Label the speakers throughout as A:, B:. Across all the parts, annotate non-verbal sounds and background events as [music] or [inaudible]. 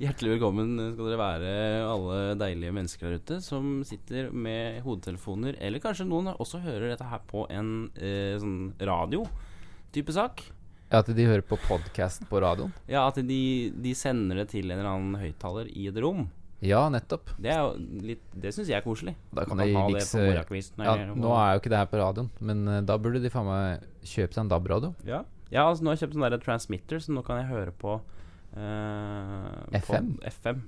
A: Hjertelig velkommen skal dere være, alle deilige mennesker der ute som sitter med hodetelefoner, eller kanskje noen også hører dette her på en eh, sånn radio-type sak.
B: Ja, At de hører på podkast på radioen?
A: Ja, at de, de sender det til en eller annen høyttaler i et rom.
B: Ja, nettopp.
A: Det, er jo litt- det syns jeg er koselig.
B: Da kan
A: Man
B: de
A: ha det
B: mikse
A: på morgenkvisten
B: ja,
A: eller
B: Nå
A: noe.
B: er jo ikke det her på radioen, men eh, da burde de faen meg kjøpe seg en DAB-radio.
A: Ja, ja altså, nå har jeg kjøpt sånn der transmitter, så nå kan jeg høre på eh,
B: FM?
A: På FM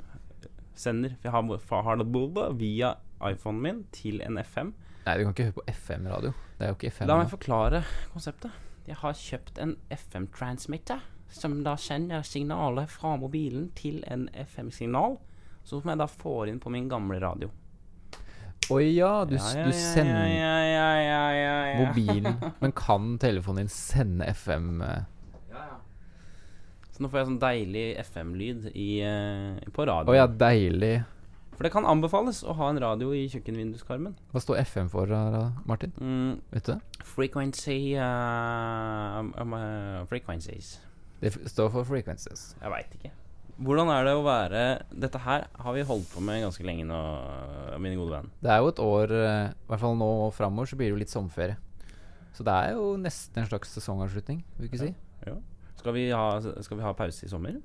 A: Sender. For jeg har, fa- har det boba via iPhonen min til en FM.
B: Nei, du kan ikke høre på FM-radio. Det er jo ikke FM.
A: La meg
B: nå.
A: forklare konseptet. Jeg har kjøpt en FM-transmitter, som da sender signalet fra mobilen til en FM-signal, som jeg da får inn på min gamle radio.
B: Å ja, du, s-
A: Ja, ja,
B: du
A: ja,
B: sender
A: ja, ja, ja, ja, ja.
B: mobilen.
A: [laughs]
B: Men kan telefonen din sende FM eh,
A: Så nå får jeg sånn deilig FM-lyd i, eh, på
B: Å
A: radio.
B: ja, deilig.
A: For det kan anbefales å ha en radio i kjøkkenvinduskarmen.
B: Hva står FM for, eh, Martin?
A: Mm,
B: Vet du det?
A: frequency eh, um, eh, Frequencies.
B: Det f- står for frequencies.
A: Jeg veit ikke. Hvordan er det å være Dette her har vi holdt på med ganske lenge nå, min gode venn.
B: Det er jo et år eh, I hvert fall nå framover så blir det jo litt sommerferie. Så det er jo nesten en slags sesongavslutning, vil du ikke si.
A: Skal vi ha, skal vi ha pause i sommer?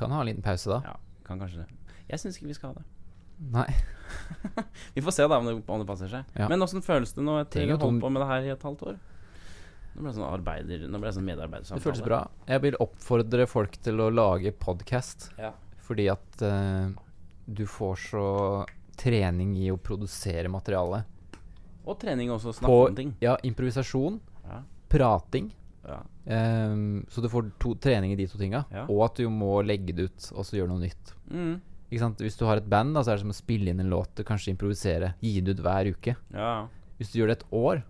B: Kan ha en liten pause da.
A: Ja, kan kanskje det. Jeg syns ikke vi skal ha det.
B: Nei.
A: Vi får se da om det, om det passer seg.
B: Ja.
A: Men åssen føles det nå etter
B: Trenger
A: å
B: jo
A: ha holdt på med det her i et halvt år? Nå ble jeg sånn arbeider Nå ble jeg sånn medarbeidersamtale.
B: Det føles bra. Jeg vil oppfordre folk til å lage podkast.
A: Ja.
B: Fordi at eh, du får så trening i å produsere materiale.
A: Og trening også. Snakke
B: På
A: om ting.
B: ja, improvisasjon,
A: Ja.
B: prating.
A: Ja.
B: ehm, så du får to, trening i de to tinga.
A: Ja.
B: Og at du må legge det ut og så gjøre noe nytt.
A: Mm.
B: Ikke sant? Hvis du har et band, da, så er det som å spille inn en låt og kanskje improvisere. Gi det ut hver uke.
A: ja.
B: Hvis du gjør det et år,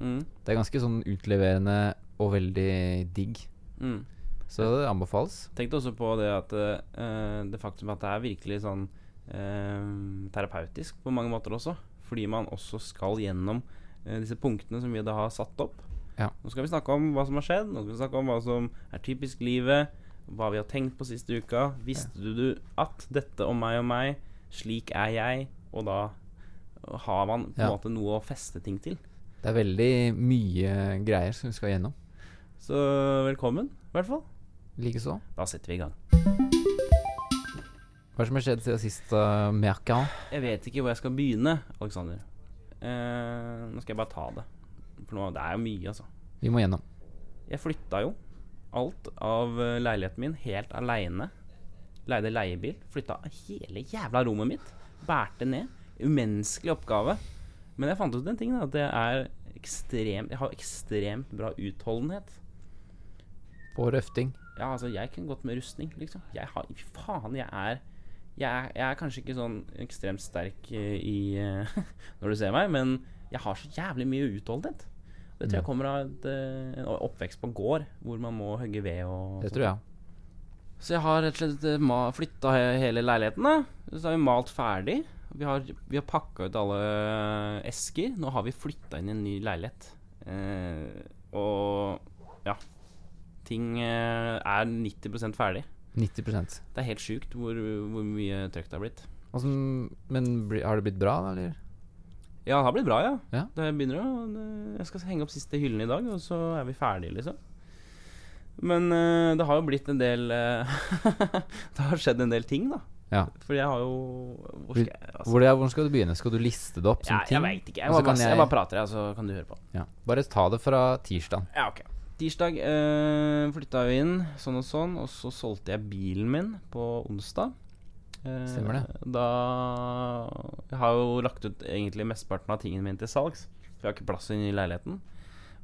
A: Mm.
B: det er ganske sånn utleverende og veldig digg.
A: Mm.
B: Så det anbefales.
A: Tenk også på det at eh, det faktum at det er virkelig sånn eh, terapeutisk på mange måter også. Fordi man også skal gjennom eh, disse punktene som vi da har satt opp.
B: Ja.
A: Nå skal vi snakke om hva som har skjedd, nå skal vi snakke om hva som er typisk livet. Hva vi har tenkt på siste uka. Visste du at dette om meg og meg, slik er jeg? Og da har man på en
B: Ja.
A: måte noe å feste ting til.
B: Det er veldig mye greier som vi skal gjennom.
A: Så velkommen, i hvert fall.
B: Likeså.
A: Da setter vi i gang.
B: Hva er det som har skjedd siden sist, uh, Merka?
A: Jeg vet ikke hvor jeg skal begynne, Alexander. Eh, nå skal jeg bare ta det. For nå, det er jo mye, altså.
B: Vi må gjennom.
A: Jeg flytta jo alt av eh, leiligheten min helt aleine. Leide leiebil. Flytta hele jævla rommet mitt. Bærte ned. Umenneskelig oppgave. Men jeg fant ut en ting, da. At jeg, er ekstremt, jeg har ekstremt bra utholdenhet.
B: På røfting.
A: Ja, altså, jeg kunne gått med rustning, liksom. Jeg har Fy faen, jeg er jeg er, jeg er kanskje ikke sånn ekstremt sterk eh, i [laughs] eh, når du ser meg, men jeg har så jævlig mye utholdenhet. Det tror jeg kommer av et, eh, en oppvekst på gård, hvor man må hogge ved og
B: Det
A: sånt.
B: tror jeg.
A: Så jeg har rett og slett eh, flytta hele leiligheten. da Så har vi malt ferdig. Vi har, vi har pakka ut alle eh, esker. Nå har vi flytta inn i en ny leilighet. Eh, og ja. Ting eh, er 90 ferdig.
B: 90
A: Det er helt sjukt hvor, hvor mye trøkk det har blitt.
B: altså, Men bli, har det blitt bra, da, eller?
A: Ja, det har blitt bra, ja.
B: Ja.
A: Det begynner å det- Jeg skal henge opp siste hyllen i dag, og så er vi ferdige, liksom. Men eh, det har jo blitt en del eh, [laughs] Det har skjedd en del ting, da.
B: Ja.
A: For jeg har jo Hvor skal jeg altså,
B: Hvor, ja, Hvordan skal du begynne? Skal du liste det opp som
A: ja,
B: ting?
A: Jeg veit ikke. Jeg
B: Og så
A: bare,
B: kan
A: masse, jeg bare prater, jeg, så kan du høre på.
B: ja. bare ta det fra tirsdag.
A: Ja, ok Tirsdag øh, flytta vi inn, sånn og sånn, og så solgte jeg bilen min på onsdag. Eh,
B: Stemmer det.
A: Da Jeg har jo lagt ut egentlig mesteparten av tingene mine til salgs. For jeg har ikke plass inn i leiligheten.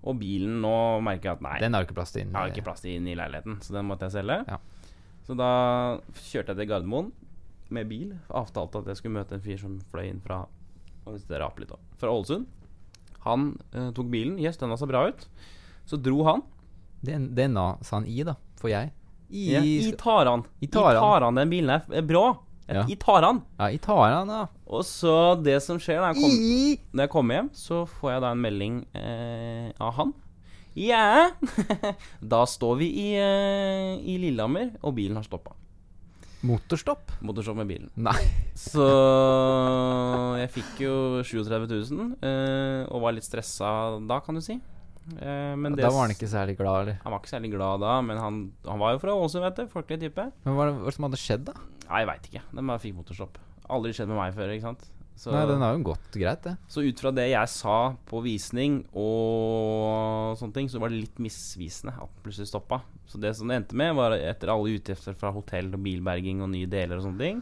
A: Og bilen nå merker jeg at nei,
B: Den har du ikke plass til. eh,
A: jeg har ikke plass til inn i leiligheten, så den måtte jeg selge.
B: Ja.
A: Så da kjørte jeg til Gardermoen med bil. Avtalte at jeg skulle møte en fyr som fløy inn fra og hvis dere aper litt da, fra Ålesund. Han eh, tok bilen. Jøss, den så bra ut. Så dro han.
B: Den, DNA sa han i, da. For jeg. I,
A: I, i Taran. I
B: Taran.
A: Taran, den bilen er, er bra.
B: Ja.
A: I Taran.
B: Ja, i Taran, da.
A: Og så det som skjer når jeg kommer
B: I
A: Når jeg kommer hjem, så får jeg da en melding eh, av han. [laughs] Ja! da står vi i, eh, i Lillehammer, og bilen har stoppa.
B: Motorstopp?
A: Motorstopp med bilen.
B: Nei. [laughs]
A: Så jeg fikk jo 37 000, eh, og var litt stressa da, kan du si. Eh, men det
B: da var han ikke særlig glad, eller?
A: Han var ikke særlig glad da, men han, han var jo fra Ålesund, vet du. Folkelig type.
B: Men hva var det som hadde skjedd, da?
A: Nei, jeg veit ikke. Den bare fikk motorstopp. Aldri skjedd med meg før, ikke sant. Så,
B: Nei, den har jo gått greit, det.
A: så ut fra det jeg sa på visning og sånne ting, så var det litt misvisende at den plutselig stoppa. Så det som det endte med, var etter alle utgifter fra hotell og bilberging og nye deler og sånne ting,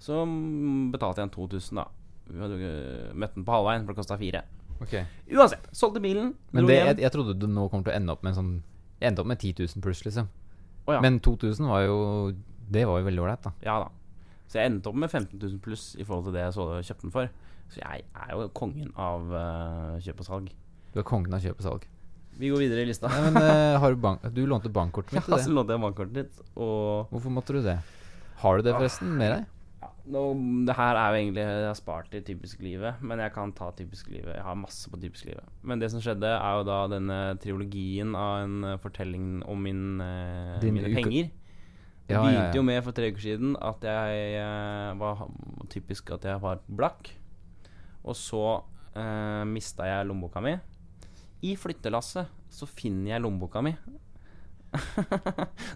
A: så mm, betalte jeg en 2000, da. Vi hadde øh, møtt den på halvveien, for det kosta fire. Uansett, solgte bilen.
B: Men
A: dro
B: det,
A: hjem.
B: jeg, jeg trodde du nå kommer til å ende opp med en sånn Jeg endte opp med 10 000 pluss, liksom.
A: Å ja.
B: Men 2000 var jo Det var jo veldig ålreit, da.
A: Ja da. Så jeg endte opp med 15 000 pluss i forhold til det jeg så jeg kjøpte den for. Så jeg er jo kongen av eh, kjøp og salg.
B: Du er kongen av kjøp og salg.
A: Vi går videre i lista.
B: Nei, men eh, har du, bank, du lånte bankkortet [laughs]
A: Ja,
B: mitt til
A: [laughs] så
B: det.
A: lånte jeg bankkortet ditt, og
B: Hvorfor måtte du det? Har du det
A: Ah.
B: forresten med deg?
A: ja, nå, Det her er jo egentlig Jeg har spart til typisk livet, men jeg kan ta typisk livet. Jeg har masse på typisk livet. Men det som skjedde, er jo da denne triologien av en eh, fortelling om min, eh,
B: Din
A: mine
B: uke-
A: penger. Det
B: Ja, ja,
A: begynte
B: ja.
A: jo med for tre uker siden at jeg eh, var typisk at jeg var blakk. Og så eh, mista jeg lommeboka mi. I flyttelasset så finner jeg lommeboka mi. [laughs]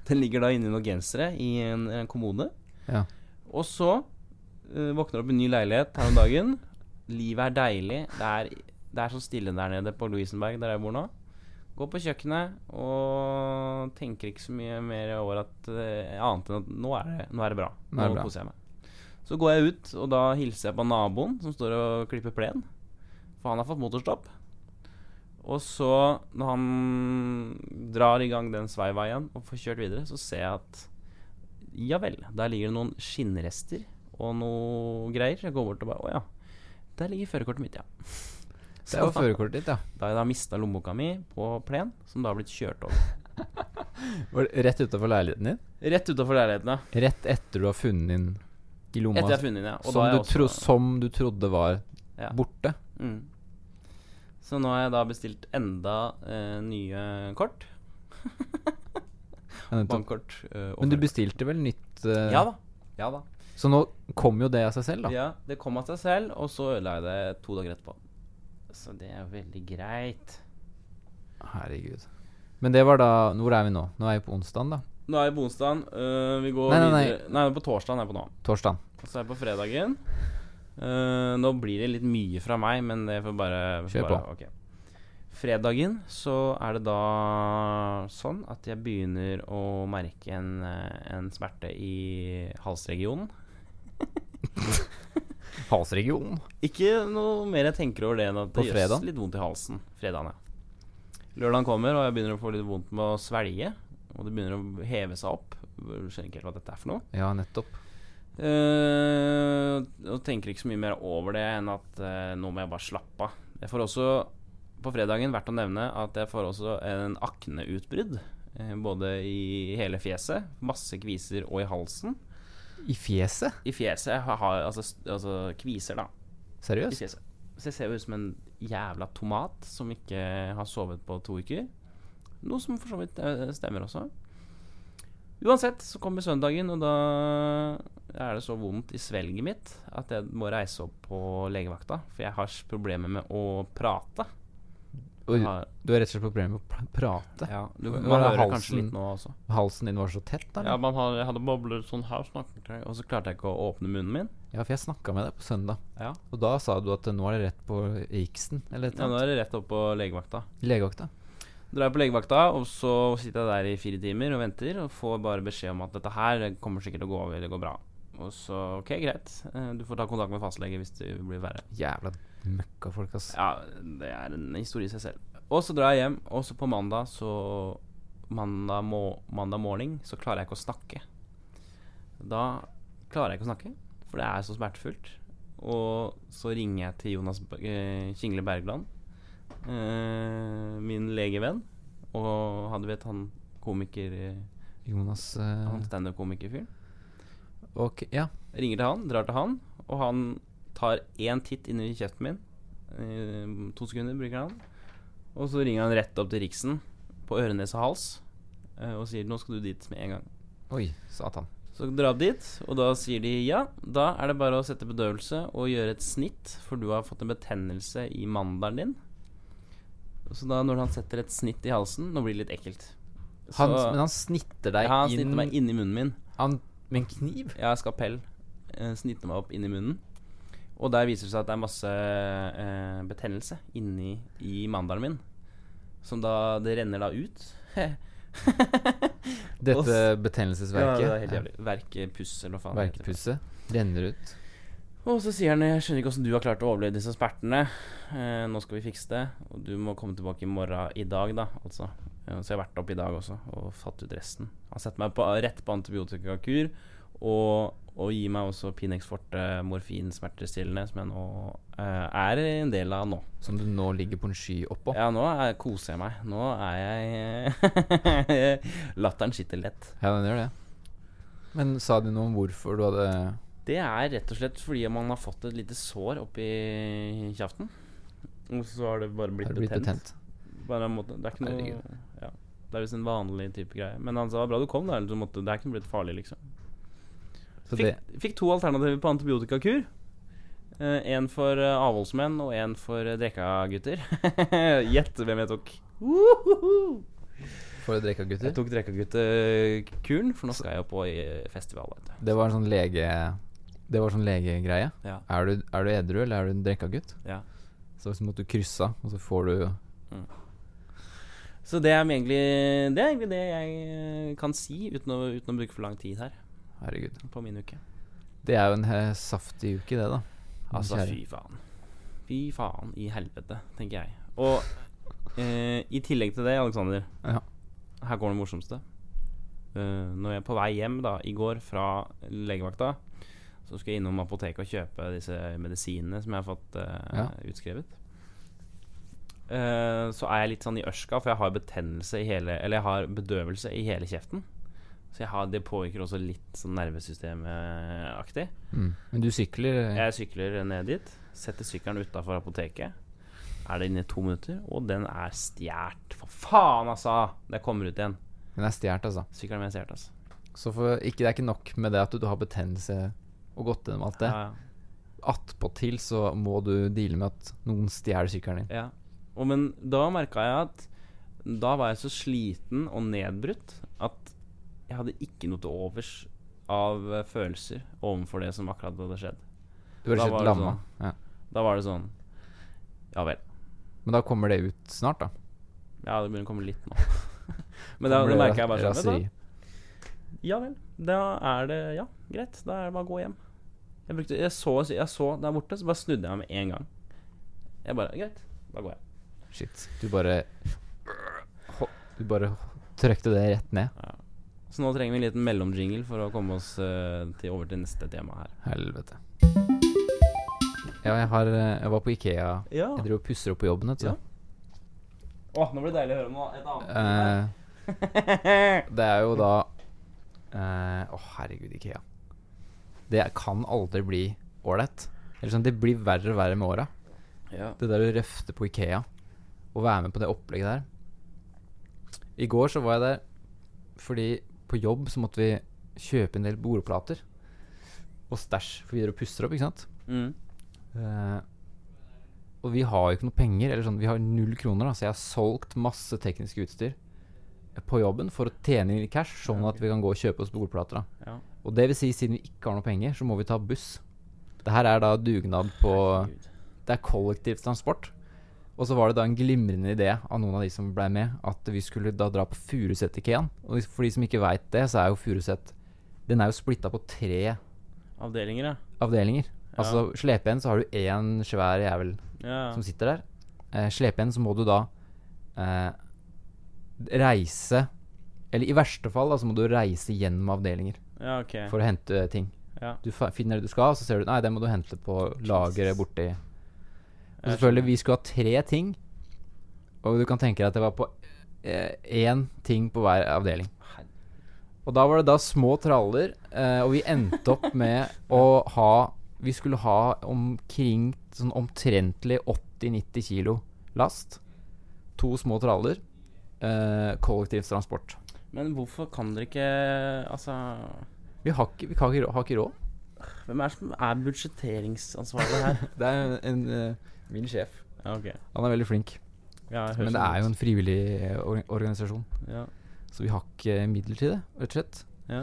A: Den ligger da inni noen gensere i en, en kommode.
B: Ja.
A: Og så eh, våkner opp i en ny leilighet her om dagen. Livet er deilig. Det er, det er så stille der nede på Lovisenberg, der jeg bor nå. Går på kjøkkenet og tenker ikke så mye mer over at eh, annet enn at nå er det, nå er det bra.
B: Nå
A: Nå
B: er det bra.
A: koser jeg meg. Så går jeg ut, og da hilser jeg på naboen som står og klipper plen. For han har fått motorstopp. Og så, når han drar i gang den sveiveien og får kjørt videre, så ser jeg at ja vel, der ligger det noen skinnrester og noe greier. Jeg går bort og bare Å ja. Der ligger førerkortet mitt, ja.
B: Det er jo førerkortet ditt, ja.
A: Da jeg da mista lommeboka mi på plen, som da har blitt kjørt over.
B: Var det Rett utafor leiligheten din?
A: Rett utafor leiligheten, ja.
B: Rett etter du har funnet den i lomma
A: Etter jeg har funnet den, ja. Og da
B: som, du
A: har jeg også-
B: tro, som du trodde var
A: Ja.
B: borte.
A: Mm. Så nå har jeg da bestilt enda eh, nye kort.
B: Men du-
A: Bankkort. Eh, og
B: Men du
A: førerkort.
B: bestilte vel nytt eh,
A: Ja da. Ja da.
B: Så nå kom jo det av seg selv, da.
A: Ja, det kom av seg selv, og så ødela jeg det to dager etterpå. Så det er jo veldig greit.
B: Herregud. Men det var da Hvor er vi nå? Nå er vi på onsdagen, da.
A: Nå er vi på onsdagen. øh, vi går
B: Nei, nei, nei.
A: videre Nei, på torsdagen er jeg på nå.
B: Torsdagen.
A: Og så er jeg på fredagen. Eh, nå blir det litt mye fra meg, men det får bare får
B: Kjør
A: bare, ok. Fredagen så er det da sånn at jeg begynner å merke en, eh, en smerte i halsregionen.
B: Halsregion.
A: Ikke noe mer jeg tenker over det enn at
B: På
A: det
B: fredagen?
A: gjør litt vondt i halsen. Fredagen, ja. Lørdagen kommer, og jeg begynner å få litt vondt med å svelge. Og det begynner å heve seg opp. Jeg skjønner ikke helt hva dette er for noe.
B: Ja, nettopp.
A: Eh, og tenker ikke så mye mer over det enn at eh, nå må jeg bare slappe av. Jeg får også på fredagen verdt å nevne at jeg får også en akneutbrudd. eh, både i hele fjeset, masse kviser, og i halsen.
B: I fjeset?
A: I fjeset jeg har har- altså, st- altså kviser, da. I
B: Seriøst?
A: fjeset. Så jeg ser jo ut som en jævla tomat som ikke har sovet på to uker. Noe som for så vidt eh, stemmer også. Uansett så kommer søndagen, og da er det så vondt i svelget mitt at jeg må reise opp på legevakta. For jeg har s- problemer med å prate.
B: Oi,
A: Jeg har-
B: du har rett og slett problemer med å pr- prate?
A: Ja, du,
B: Hva-
A: man
B: hva er
A: hører
B: halsen?
A: kanskje litt nå også.
B: Halsen din var så tett, da?
A: Ja,
B: eller?
A: man har, jeg hadde bobler sånn her, snakket jeg, og så klarte jeg ikke å åpne munnen min.
B: Ja, for jeg snakka med deg på søndag,
A: Ja,
B: og da sa du at eh, nå er det rett på Riksen, eller et
A: ja Nå
B: eller annet.
A: er det rett opp på legevakta.
B: Legevakta.
A: Drar på legevakta, og så sitter jeg der i fire timer og venter, og får bare beskjed om at dette her kommer sikkert til å gå over, det går bra. Og så ok, greit. Eh, Du får ta kontakt med fastlege hvis det blir verre.
B: Jævla møkkafolk, ass.
A: Ja, det er en historie i seg selv. Og så drar jeg hjem, og så på mandag så mandag, må, mandag morgen så klarer jeg ikke å snakke. Da klarer jeg ikke å snakke, for det er så smertefullt. Og så ringer jeg til Jonas B- eh, Kingle Bergland, eh, min legevenn. Og han, du vet han komiker eh,
B: Jonas eh,
A: Han standup-komikerfyren.
B: Ok, ja.
A: Ringer til han, drar til han, og han tar én titt inn i kjeften min. Eh, To sekunder bruker han. Og så ringer han rett opp til Riksen på øre, nese og hals eh, og sier 'nå skal du dit med en gang'.
B: Oi, satan.
A: Så dra opp dit, og da sier de ja. Da er det bare å sette bedøvelse og gjøre et snitt, for du har fått en betennelse i mandelen din. Så da når han setter et snitt i halsen Nå blir det litt ekkelt.
B: Han,
A: Så-
B: men han snitter deg
A: ja, han
B: inn
A: snitter meg inni munnen min.
B: Han, Med en kniv?
A: Jeg har skapell. eh, Snitter meg opp inni munnen. Og der viser det seg at det er masse eh, betennelse inni i mandelen min. Som da Det renner da ut. [laughs] Og
B: Dette
A: s-
B: betennelsesverket?
A: Ja, det er helt jævlig. Verkepuss, eller hva faen. det heter.
B: Verkepusset renner ut.
A: Og så sier han Jeg skjønner ikke hvordan du har klart å overleve disse smertene. Eh, nå skal vi fikse det. Og du må komme tilbake i morgen i dag, da. Altså. Eh, Så jeg har vært opp i dag også og fatt ut resten. Han setter meg på, rett på antibiotikakur og, og gir meg også Pinex Forte morfin smertestillende, som jeg nå eh, er en del av nå.
B: Som du nå ligger på en sky oppå.
A: Ja, nå er, koser jeg meg. Nå er jeg [laughs] Latteren sitter lett.
B: Ja, den gjør det. Men sa de noe om hvorfor du hadde
A: Det er rett og slett fordi man har fått et lite sår oppi kjeften. Og så har det bare blitt,
B: har du blitt
A: betent.
B: betent?
A: Bare en måte, det er ikke noe
B: Herregud.
A: ja, Det er visst en vanlig type greie. Men han sa bra du kom, da. Eller du måtte, det er ikke noe blitt farlig, liksom.
B: Så
A: Fikk,
B: det,
A: fikk to alternativer på antibiotikakur. Én for eh, avholdsmenn og én for eh, drekkagutter. [laughs] Gjett hvem jeg tok. Woohoo!
B: for å drikke av
A: Jeg
B: gutter?
A: tok drekkagutterkuren, for nå skal jeg jo på i eh, festival. Vet du.
B: Det var en sånn lege... Det var sånn legegreie.
A: Ja.
B: Er du, er du edru, eller er du en drikka gutt?
A: Ja.
B: Så liksom at du kryssa, og så får du
A: Så det er egentlig det, er egentlig det jeg eh, kan si, uten å, uten å bruke for lang tid her
B: Herregud.
A: på min uke.
B: Det er jo en eh, saftig uke, det, da. Min
A: Altså,
B: kjære.
A: fy faen. Fy faen i helvete, tenker jeg. Og eh, i tillegg til det, Aleksander,
B: Ja.
A: her går det morsomste. Eh, når jeg er på vei hjem da i går fra legevakta, så skal jeg innom apoteket og kjøpe disse medisinene som jeg har fått eh,
B: Ja.
A: utskrevet. Eh, så er jeg litt sånn i ørska, for jeg har betennelse i hele Eller jeg har bedøvelse i hele kjeften. Så jeg har, det påvirker også litt sånn nervesystemaktig.
B: Mm. Men du sykler eh,
A: Jeg sykler ned dit, setter sykkelen utafor apoteket. Er det inne i to minutter, og den er stjålet. For faen, altså! Det kommer ut igjen.
B: Den er stjålet, altså.
A: Sykkelen min er stjålet, altså.
B: Så for, ikke, det er ikke nok med det at du, du har betennelse og gått gjennom alt det.
A: Ja,
B: Attpåtil så må du deale med at noen stjeler sykkelen din.
A: ja. Og men da merka jeg at da var jeg så sliten og nedbrutt at jeg hadde ikke noe til overs av eh, følelser overfor det som akkurat hadde skjedd.
B: Du er
A: Da
B: rett og slett
A: var det sånn.
B: lamma. Ja.
A: Da var det sånn Ja vel.
B: Men da kommer det ut snart, da.
A: Ja, det begynner å komme litt nå. [laughs] Men da,
B: Kommer
A: da
B: det
A: merka jeg bare sånn vet du hva?
B: raseri.
A: Ja vel. Da er det Ja, greit. Da er det bare å gå hjem. Jeg, brukte, jeg, så, jeg så der borte, så bare snudde jeg meg med en gang. Jeg bare Greit, da går jeg.
B: Shit. Du bare Ho- Du bare trykte det rett ned.
A: Så nå trenger vi en liten mellomjingle for å komme oss eh, til, over til neste tema her.
B: Helvete. Ja, jeg har eh, Jeg var på Ikea.
A: Ja.
B: Jeg driver og pusser opp på jobben, vet du.
A: Ja. Å, nå blir det deilig å høre om noe- et annet.
B: Eh, det er jo da eh, Å, herregud, Ikea. Det kan aldri bli ålreit. Eller sånn, det blir verre og verre med åra.
A: [laughs] ja.
B: Det der å røfte på Ikea og være med på det opplegget der. I går så var jeg der fordi på jobb så måtte vi kjøpe en del bordplater og stæsj, for vi driver og puster opp, ikke sant?
A: Mm.
B: Eh, og vi har jo ikke noe penger, eller sånn, vi har null kroner, da, så jeg har solgt masse teknisk utstyr på jobben for å tjene inn cash, sånn
A: Ja,
B: at vi kan gå og kjøpe oss bordplater. Da.
A: Ja.
B: Og det vil si, siden vi ikke har noe penger, så må vi ta buss. Det her er da dugnad på
A: Gud.
B: det er kollektivtransport. Og så var det da en glimrende idé av noen av de som ble med, at vi skulle da dra på Furuset Ikeaen. Og hvis- for de som ikke veit det, så er jo Furuset Den er jo splitta på tre
A: Avdelinger, ja.
B: avdelinger. Altså slepe en, så har du én svær jævel
A: ja.
B: som sitter der. Eh, slepe en, så må du da eh, reise Eller i verste fall, da, så må du reise gjennom avdelinger
A: Ja, ok.
B: for å hente ting.
A: Ja.
B: Du fa- finner det du skal, så ser du Nei, det må du hente på lageret borti og selvfølgelig,
A: Jeg skjønner.
B: vi skulle ha tre ting. Og du kan tenke deg at det var på eh, én ting på hver avdeling.
A: Herre-
B: Og da var det da små traller, eh, og vi endte opp [laughs] med å ha Vi skulle ha omkring sånn omtrentlig 80-90 kilo last. To små traller. Eh, kollektivtransport.
A: Men hvorfor kan dere ikke Altså
B: Vi har ikke, vi kan ikke, rå- har ikke råd.
A: Hvem er det som er budsjetteringsansvarlig her?
B: [laughs] Det er en, eh, min sjef.
A: ja, ok.
B: Han er veldig flink.
A: Ja, jeg hører
B: Men det
A: sånn
B: er jo
A: ut.
B: en frivillig eh, or- organisasjon.
A: ja.
B: Så vi har ikke midler til det, rett og slett.
A: Ja.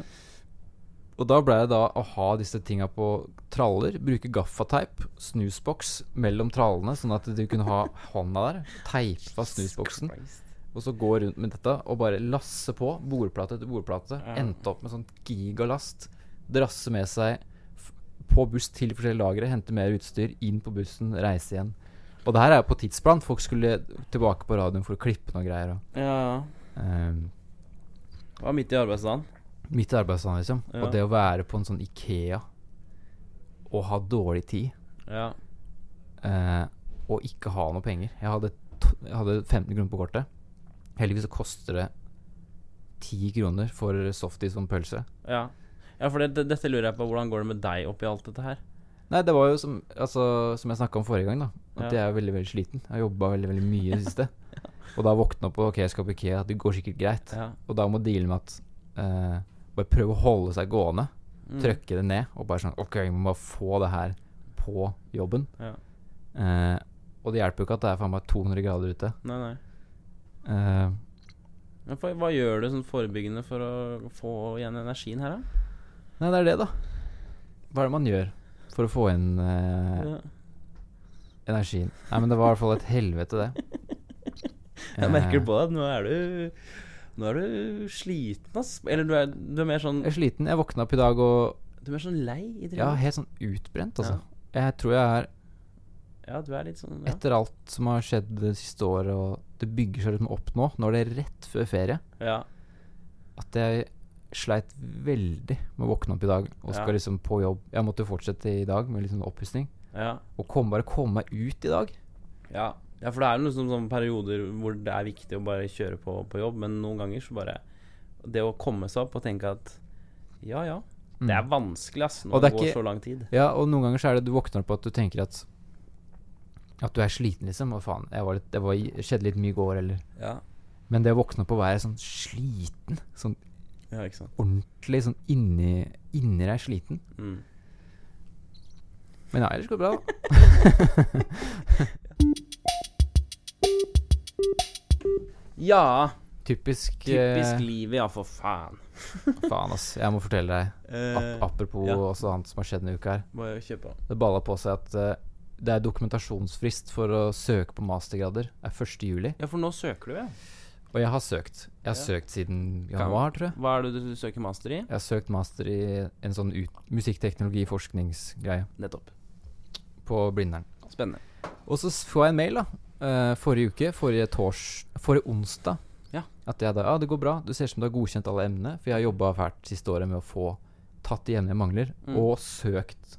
B: Og da ble det da å ha disse tinga på traller, bruke gaffateip, snusboks mellom trallene, sånn at du kunne
A: [laughs]
B: ha hånda der, teipa snusboksen,
A: Christ.
B: og så gå rundt med dette og bare lasse på bordplate etter bordplate.
A: Ja.
B: Endte opp med sånn gigalast. Drasse med seg f- på buss til forskjellige lagre, hente mer utstyr, inn på bussen, reise igjen. Og det her er jo på tidsplan. Folk skulle tilbake på radioen for å klippe noe greier. Og,
A: Ja, ja.
B: ehm,
A: Det var midt i arbeidsdagen.
B: Mitt arbeidsland, liksom.
A: Ja.
B: Og det å være på en sånn Ikea og ha dårlig tid
A: Ja.
B: eh, og ikke ha noe penger Jeg hadde, t jeg hadde 15 kroner på kortet. Heldigvis så koster det 10 kroner for softis som pølse.
A: Ja, ja for det, det, dette lurer jeg på. Hvordan går det med deg oppi alt dette her?
B: Nei, det var jo som, altså, som jeg snakka om forrige gang, da. At
A: Ja.
B: jeg er jo veldig veldig sliten. Jeg har jobba veldig veldig mye i det
A: [laughs]
B: siste. Og da våkna jeg opp og OK, jeg skal på Ikea. Det går sikkert greit.
A: Ja.
B: Og da må jeg deale med at eh, Bare prøve å holde seg gående.
A: Mm.
B: Trøkke det ned og bare sånn OK, vi må bare få det her på jobben.
A: Ja.
B: Eh, og det hjelper jo ikke at det er faen meg 200 grader ute.
A: Nei, nei.
B: Eh,
A: Men for, hva gjør du sånn forebyggende for å få igjen energien her, da?
B: nei, det er det, da. Hva er det man gjør for å få inn eh,
A: Ja.
B: energien? Nei, men det var i hvert fall et helvete, det.
A: [laughs] Jeg merker det på deg. Nå er du Nå er du sliten, ass. Eller du er, du er mer sånn
B: Eh, Jeg er sliten. Jeg våkna opp i dag og
A: Du er mer sånn lei i
B: Ja,
A: trynet.
B: helt sånn utbrent, altså. Jeg tror jeg er
A: Ja, du er litt sånn ja.
B: Etter alt som har skjedd det siste året, og det bygger seg liksom opp nå, nå er det rett før ferie,
A: ja.
B: at jeg sleit veldig med å våkne opp i dag og skal
A: Ja.
B: liksom på jobb. Jeg måtte jo fortsette i dag med litt sånn oppussing.
A: Ja.
B: Og komme, bare komme meg ut i dag.
A: ja. Ja, for det er jo liksom sånne perioder hvor det er viktig å bare kjøre på på jobb, men noen ganger så bare Det å komme seg opp og tenke at ja, ja. Mm. Det er vanskelig, ass,
B: Mm. Og
A: når det
B: det er
A: går
B: ikke-
A: så lang tid.
B: Ja, og noen ganger så er det du våkner opp at du tenker at At du er sliten, liksom. Og faen, jeg var litt, det var, skjedde litt mye i går, eller
A: Ja.
B: Men det å våkne opp og være sånn sliten, sånn
A: ja, ikke sant.
B: ordentlig sånn inni, inni deg sliten
A: Mm.
B: Men ja, ellers går
A: [laughs]
B: det bra, da.
A: Ja.
B: Typisk,
A: Typisk
B: eh,
A: livet, ja, for faen.
B: Faen, ass. Jeg må fortelle deg. Ap apropos
A: ja.
B: også annet som har skjedd denne uka her.
A: Eh, Må jeg kjøpe den?
B: Det balla på seg at eh, det er dokumentasjonsfrist for å søke på mastergrader. Det er 1. juli.
A: Ja, for nå søker du, ja.
B: Og jeg har søkt. Jeg har
A: Ja.
B: søkt siden januar, tror jeg.
A: Hva er det du søker master i?
B: Jeg har søkt master i en sånn ut musikkteknologi-forskningsgreie
A: Nettopp.
B: på Blindern.
A: Spennende.
B: Og så s- får jeg en mail da eh, forrige uke, forrige tors, forrige onsdag,
A: Ja.
B: at jeg da Ja, det går bra. Du ser ut som du har godkjent alle emnene. For jeg har jobba fælt siste året med å få tatt de emnene jeg mangler,
A: Mm.
B: og søkt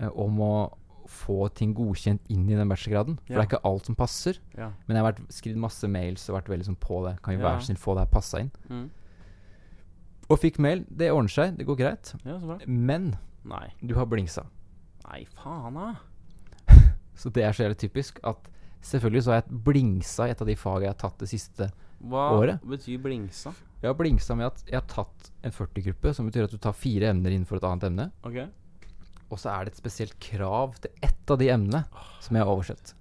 B: eh, om å få ting godkjent inn i den bachelorgraden. For
A: Ja.
B: det er ikke alt som passer.
A: Ja.
B: Men jeg har vært, skrevet masse mails og vært veldig sånn på det. Kan vi
A: Ja.
B: være så snill få det her passa inn?
A: Mm.
B: Og fikk mail. Det ordner seg. Det går greit.
A: ja, så bra.
B: Men
A: Nei.
B: du har blingsa.
A: Nei, faen, da.
B: Så det er så jævlig typisk at selvfølgelig så har jeg blingsa i et av de faga jeg har tatt det siste.
A: Hva
B: Året?
A: betyr blingsa?
B: Jeg har blingsa med at jeg har tatt en 40-gruppe, som betyr at du tar fire emner innenfor et annet emne.
A: Ok.
B: Og så er det et spesielt krav til ett av de emnene som jeg har oversett.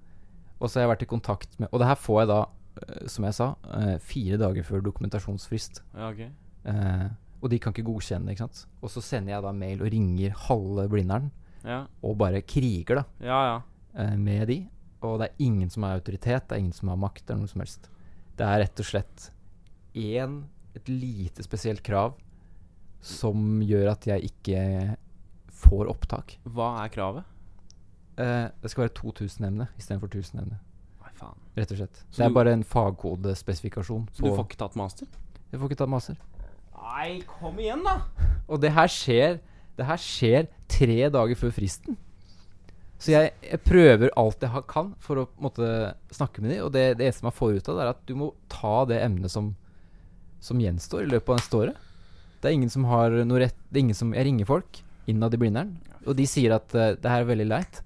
B: Og så har jeg vært i kontakt med Og det her får jeg da, eh, som jeg sa, eh, fire dager før dokumentasjonsfrist.
A: Ja, ok.
B: Eh, og de kan ikke godkjenne det, ikke sant. Og så sender jeg da mail og ringer halve Blindern
A: Ja,
B: og bare kriger, da.
A: ja. ja.
B: eh, med de. Og det er ingen som har autoritet, det er ingen som har makt eller noe som helst. Det er rett og slett én, et lite spesielt krav som gjør at jeg ikke får opptak.
A: Hva er kravet?
B: Eh, det skal være 2000 emne istedenfor 1000 emne,
A: Nei, faen.
B: rett og slett.
A: Så
B: det er
A: du-
B: bare en fagkodespesifikasjon.
A: Så du får ikke tatt master?
B: Jeg får ikke tatt maser.
A: Nei, kom igjen, da.
B: Og det her skjer Det her skjer tre dager før fristen. Så jeg, jeg prøver alt jeg har kan for å på en måte, snakke med dem. Og det, det eneste man får ut av det, er at du må ta det emnet som, som gjenstår i løpet av neste året. Det er ingen som har noe rett det er ingen som, Jeg ringer folk innad i Blindern, og de sier at eh, det her er veldig leit.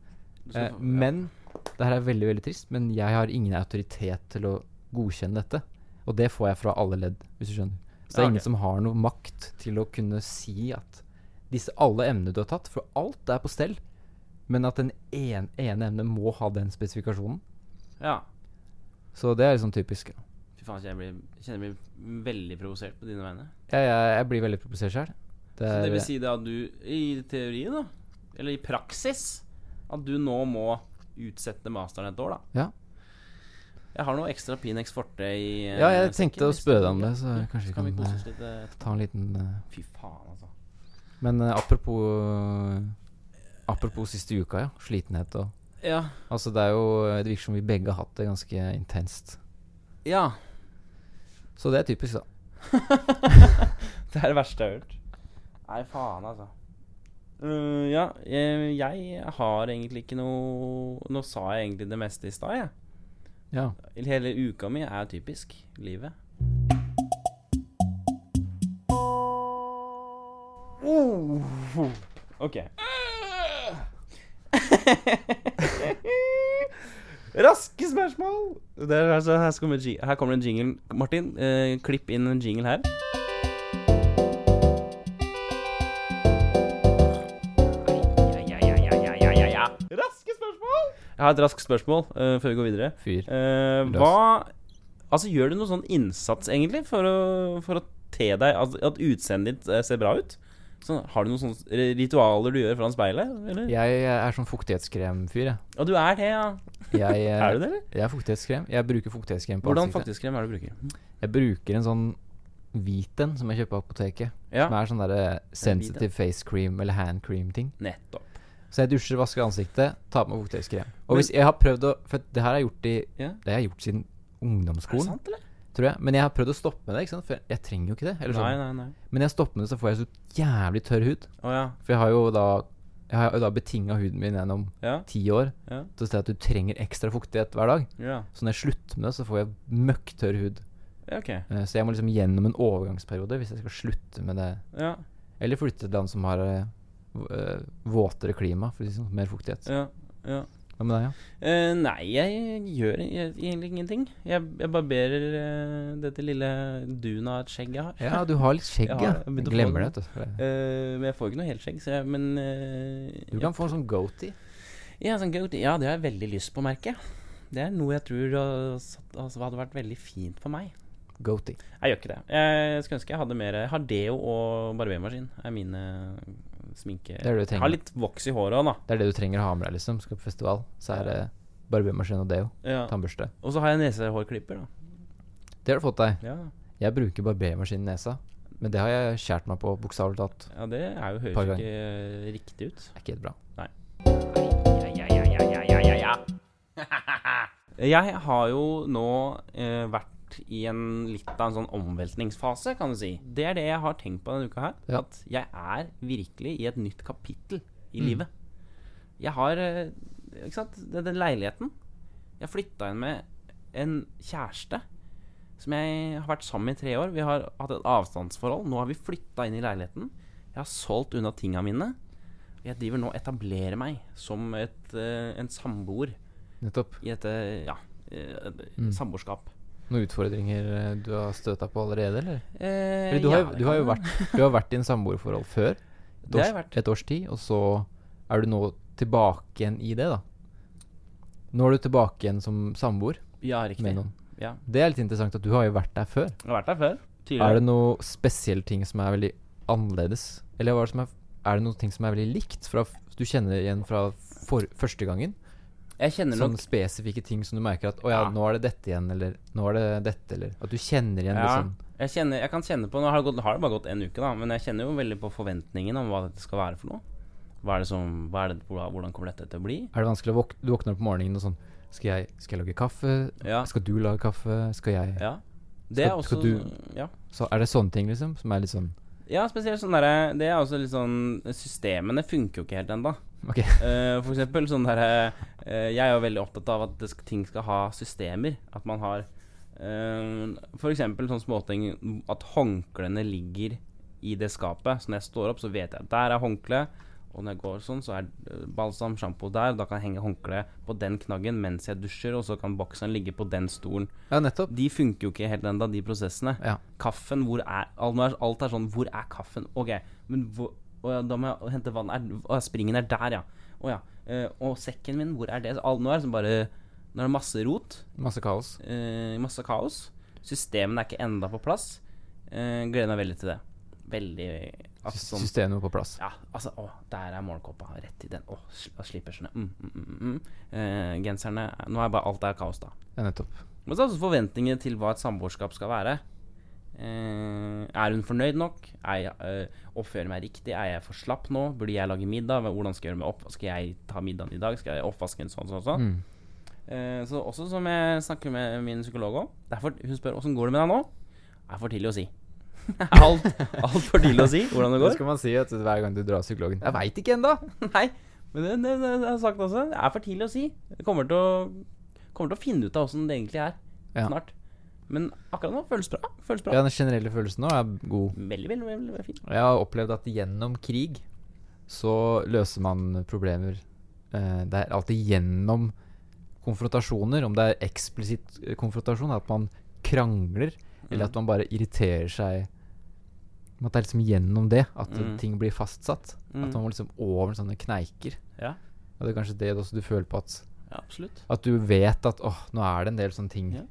A: Du skal
B: Eh,
A: få- ja.
B: men det her er veldig veldig trist, men jeg har ingen autoritet til å godkjenne dette. Og det får jeg fra alle ledd, hvis du skjønner. Så det
A: Ja,
B: er ingen
A: ok.
B: som har noe makt til å kunne si at disse alle emnene du har tatt, for alt er på stell, men at den en, ene emnet må ha den spesifikasjonen.
A: Ja.
B: Så det er liksom typisk.
A: Fy faen, jeg, blir, jeg kjenner jeg blir veldig provosert på dine vegne.
B: Jeg, jeg, jeg blir veldig provosert sjøl. Det
A: Så
B: er-
A: det vil si da at du, i teorien da, eller i praksis, at du nå må utsette masteren et år da.
B: Ja.
A: Jeg har noe ekstra Pinex Forte i eh,
B: Ja, jeg
A: sekken,
B: tenkte å
A: hvis
B: spørre deg om det, så
A: Ja,
B: kanskje vi
A: kan vi
B: kan,
A: kose
B: eh,
A: oss litt eh, etterpå.
B: Ta en liten eh,
A: Fy faen, altså.
B: Men eh, apropos eh, Apropos siste uka, ja. Slitenhet og
A: Ja.
B: Altså, det er jo Det virker som vi begge har hatt det ganske intenst.
A: ja.
B: Så det er typisk, da.
A: [laughs] Det er det verste jeg har hørt. Nei, faen, altså. Uh, ja, jeg, jeg har egentlig ikke noe Nå sa jeg egentlig det meste i stad, jeg.
B: Ja.
A: Hele uka mi er typisk livet. Uh. Ok. [laughs] Raske spørsmål! Det er, altså, her, kommer ji- her kommer en jingle. Martin, eh, klipp inn en jingle her. Raske spørsmål! Jeg har et raskt spørsmål eh, før vi går videre.
B: Fyr.
A: Eh,
B: Løs.
A: hva Altså, gjør du noen sånn innsats, egentlig, for å, for å te deg At, at utseendet ditt eh, ser bra ut? Så, har du noen sånne ri- ritualer du gjør foran speilet? Eller?
B: Jeg er sånn fuktighetskremfyr, jeg.
A: Og du er det, ja.
B: Jeg, eh,
A: Er du det, eller?
B: jeg er fuktighetskrem. Jeg bruker fuktighetskrem på
A: Hvordan
B: ansiktet.
A: faktisk krem er det du bruker?
B: Jeg bruker en sånn hvit en som jeg kjøper på apoteket.
A: Ja,
B: Som er sånn derre sensitive face cream eller hand cream-ting.
A: nettopp.
B: Så jeg dusjer, vasker ansiktet, tar på meg fuktighetskrem.
A: Men-
B: Og hvis jeg har prøvd å For det her har jeg gjort i
A: Ja.
B: Det har jeg gjort siden
A: Er det
B: ungdomsskolen,
A: sant, eller?
B: tror jeg. Men jeg har prøvd å stoppe med det, ikke sant? for jeg- jeg trenger jo ikke det. Eller
A: Nei,
B: sånn.
A: nei, nei.
B: Men når jeg stopper med det, så får jeg så jævlig tørr hud.
A: Å ja.
B: For jeg har jo da Jeg har jo da betinga huden min gjennom
A: Ja.
B: ti år
A: Ja.
B: til å si at du trenger ekstra fuktighet hver dag.
A: Ja,
B: Så når jeg slutter med det, så får jeg møkktørr hud.
A: ja ok.
B: Eh, Så jeg må liksom gjennom en overgangsperiode hvis jeg skal slutte med det.
A: Ja.
B: Eller flytte til et land som har eh, v- eh, våtere klima, for å si sånn, mer fuktighet.
A: Ja. ja.
B: Hva med deg, ja?
A: Eh, nei, jeg gjør i- egentlig ingenting. Jeg, jeg barberer eh, dette lille duna et skjegg jeg har.
B: Ja, du har
A: [laughs]
B: litt skjegg,
A: Jeg
B: ja.
A: har det. Jeg begynte å få
B: Glemmer det,
A: det.
B: vet du.
A: Eh, men jeg får ikke noe helskjegg, så jeg Men eh,
B: Du
A: jeg-
B: kan få en sånn goatee.
A: Ja, sånn goatee. ja, det har jeg veldig lyst på, merker jeg. Det er noe jeg tror uh, satt- altså, hadde vært veldig fint for meg.
B: Goatee.
A: Jeg gjør ikke det. Jeg skulle ønske jeg hadde mer Jeg har deo og barbermaskin. er mine sminke...
B: Det er det du
A: jeg har
B: trenger.
A: litt voks i håret òg, da.
B: Det er det du trenger å ha med deg, liksom. Skal på festival, så er det barbermaskin og deo.
A: Ja.
B: Tannbørste.
A: Og så har jeg nesehårklipper, da.
B: Det har du fått deg.
A: Ja,
B: Jeg bruker barbermaskin i nesa, men det har jeg skjært meg på, bokstavelig talt.
A: ja det er jo,
B: Par
A: høres jo
B: ganger.
A: ikke eh, riktig ut.
B: Det er ikke helt bra.
A: Jeg har jo nå eh, vært i en litt av en sånn omveltningsfase, kan du si. Det er det jeg har tenkt på denne uka her.
B: Ja.
A: At jeg er virkelig i et nytt kapittel i livet. Jeg har eh, Ikke sant, den, den leiligheten. Jeg flytta inn med en kjæreste som jeg har vært sammen med i tre år. Vi har hatt et avstandsforhold. Nå har vi flytta inn i leiligheten. Jeg har solgt unna tinga mine. Jeg driver nå og etablerer meg som et, eh, en samboer
B: Nettopp.
A: i dette ja, eh,
B: Mm.
A: samboerskap.
B: Noen utfordringer eh, du har støta på allerede, eller?
A: Eh,
B: Fordi du, har,
A: ja,
B: jo-
A: det
B: du, har
A: kan
B: jo
A: være.
B: vært, du har vært i en samboerforhold
A: [laughs]
B: før. Et
A: Det har jeg
B: års,
A: vært.
B: et års tid, og så er du nå tilbake igjen i det, da. Nå er du tilbake igjen som samboer
A: Ja, riktig.
B: med noen.
A: Ja.
B: Det er litt interessant at du har jo vært der før.
A: Jeg har vært der før.
B: Er
A: Tidligere.
B: det noe spesielle ting som er veldig annerledes? Eller hva er det som er, er det noen ting som er veldig likt fra f- du kjenner igjen fra for, første gangen?
A: Jeg kjenner
B: Sånne
A: nok
B: spesifikke ting som du merker at Å ja,
A: Ja.
B: nå er det dette igjen, eller nå er det dette, eller At du kjenner igjen
A: ja,
B: liksom
A: jeg, kjenner, jeg kan kjenne på Nå har det, gått, har det bare gått en uke, da, men jeg kjenner jo veldig på forventningen om hva dette skal være for noe. Hva er det som, hva er det, hvordan kommer dette til å bli?
B: Er det vanskelig å våk Du våkner opp om morgenen og sånn skal jeg, skal jeg lage kaffe?
A: Ja.
B: Skal du lage kaffe? Skal jeg
A: ja. Det er
B: Skal- skal
A: også
B: du-
A: ja.
B: Så er det sånne ting, liksom? Som er litt sånn [laughs]
A: ja, spesielt sånn derre Det er også litt sånn Systemene funker jo ikke helt ennå.
B: Ok.
A: Eh, for eksempel sånn der eh, Jeg er jo veldig opptatt av at det skal, ting skal ha systemer. At man har eh, For eksempel sånn småting At håndklærne ligger i det skapet. Så når jeg står opp, så vet jeg at der er håndkle, Og når jeg går sånn, så er eh, balsam, sjampo der. Da kan jeg henge håndkleet på den knaggen mens jeg dusjer, og så kan bokseren ligge på den stolen.
B: Ja, nettopp.
A: De funker jo ikke helt ennå, de prosessene.
B: Ja.
A: Kaffen, hvor er alt er, alt er sånn Hvor er kaffen? Ok, men hvor å ja, da må jeg hente vann er, å, ja, Springen er der, ja. Å ja. eh, og sekken min, hvor er det? Alt nå er det sånn bare Nå er det masse rot.
B: Masse kaos.
A: Eh, masse kaos. Systemene er ikke enda på plass. Eh, gleder meg veldig til det. Veldig altså,
B: Sy-
A: sånn,
B: Systemet på plass.
A: Ja, altså Å, der er morgenkåpa. Rett i den. Å, sl slipersene. Mm, mm, mm, mm. Eh, genserne Nå er bare alt er kaos, da.
B: Ja, nettopp.
A: Men så er det også forventninger til hva et samboerskap skal være. Eh, er hun fornøyd nok? Er jeg, eh, oppfører jeg meg riktig? Er jeg for slapp nå? Burde jeg lage middag? Hvordan skal jeg gjøre med opp? Skal jeg ta middagen i dag? Skal jeg oppvaske en sånn, sånn, sånn?
B: Mm.
A: Eh, så også som jeg snakker med min psykolog om derfor, Hun spør åssen går det med deg nå. Det er for tidlig å si. [laughs] alt, alt for tidlig å si hvordan det
B: Det
A: går.
B: skal man si vet du, hver gang du drar til psykologen. Jeg veit ikke ennå!
A: [laughs] Nei, men det, det, det, det har jeg sagt også. Det er for tidlig å si. Jeg kommer til å, kommer til å finne ut av åssen det egentlig er
B: Ja.
A: snart. Men akkurat nå føles bra. Føles bra.
B: Ja, den generelle følelsen nå er god.
A: Veldig, veldig, veldig, veldig fint.
B: Og Jeg har opplevd at gjennom krig så løser man problemer eh, Det er alltid gjennom konfrontasjoner, om det er eksplisitt eh, konfrontasjon, at man krangler, eller
A: Mm.
B: at man bare irriterer seg Men At det er liksom gjennom det at
A: Mm.
B: ting blir fastsatt. At man må liksom over sånne kneiker.
A: Ja.
B: Og det er kanskje det også du føler på at
A: Ja, absolutt.
B: At du vet at åh, nå er det en del sånne ting
A: Ja.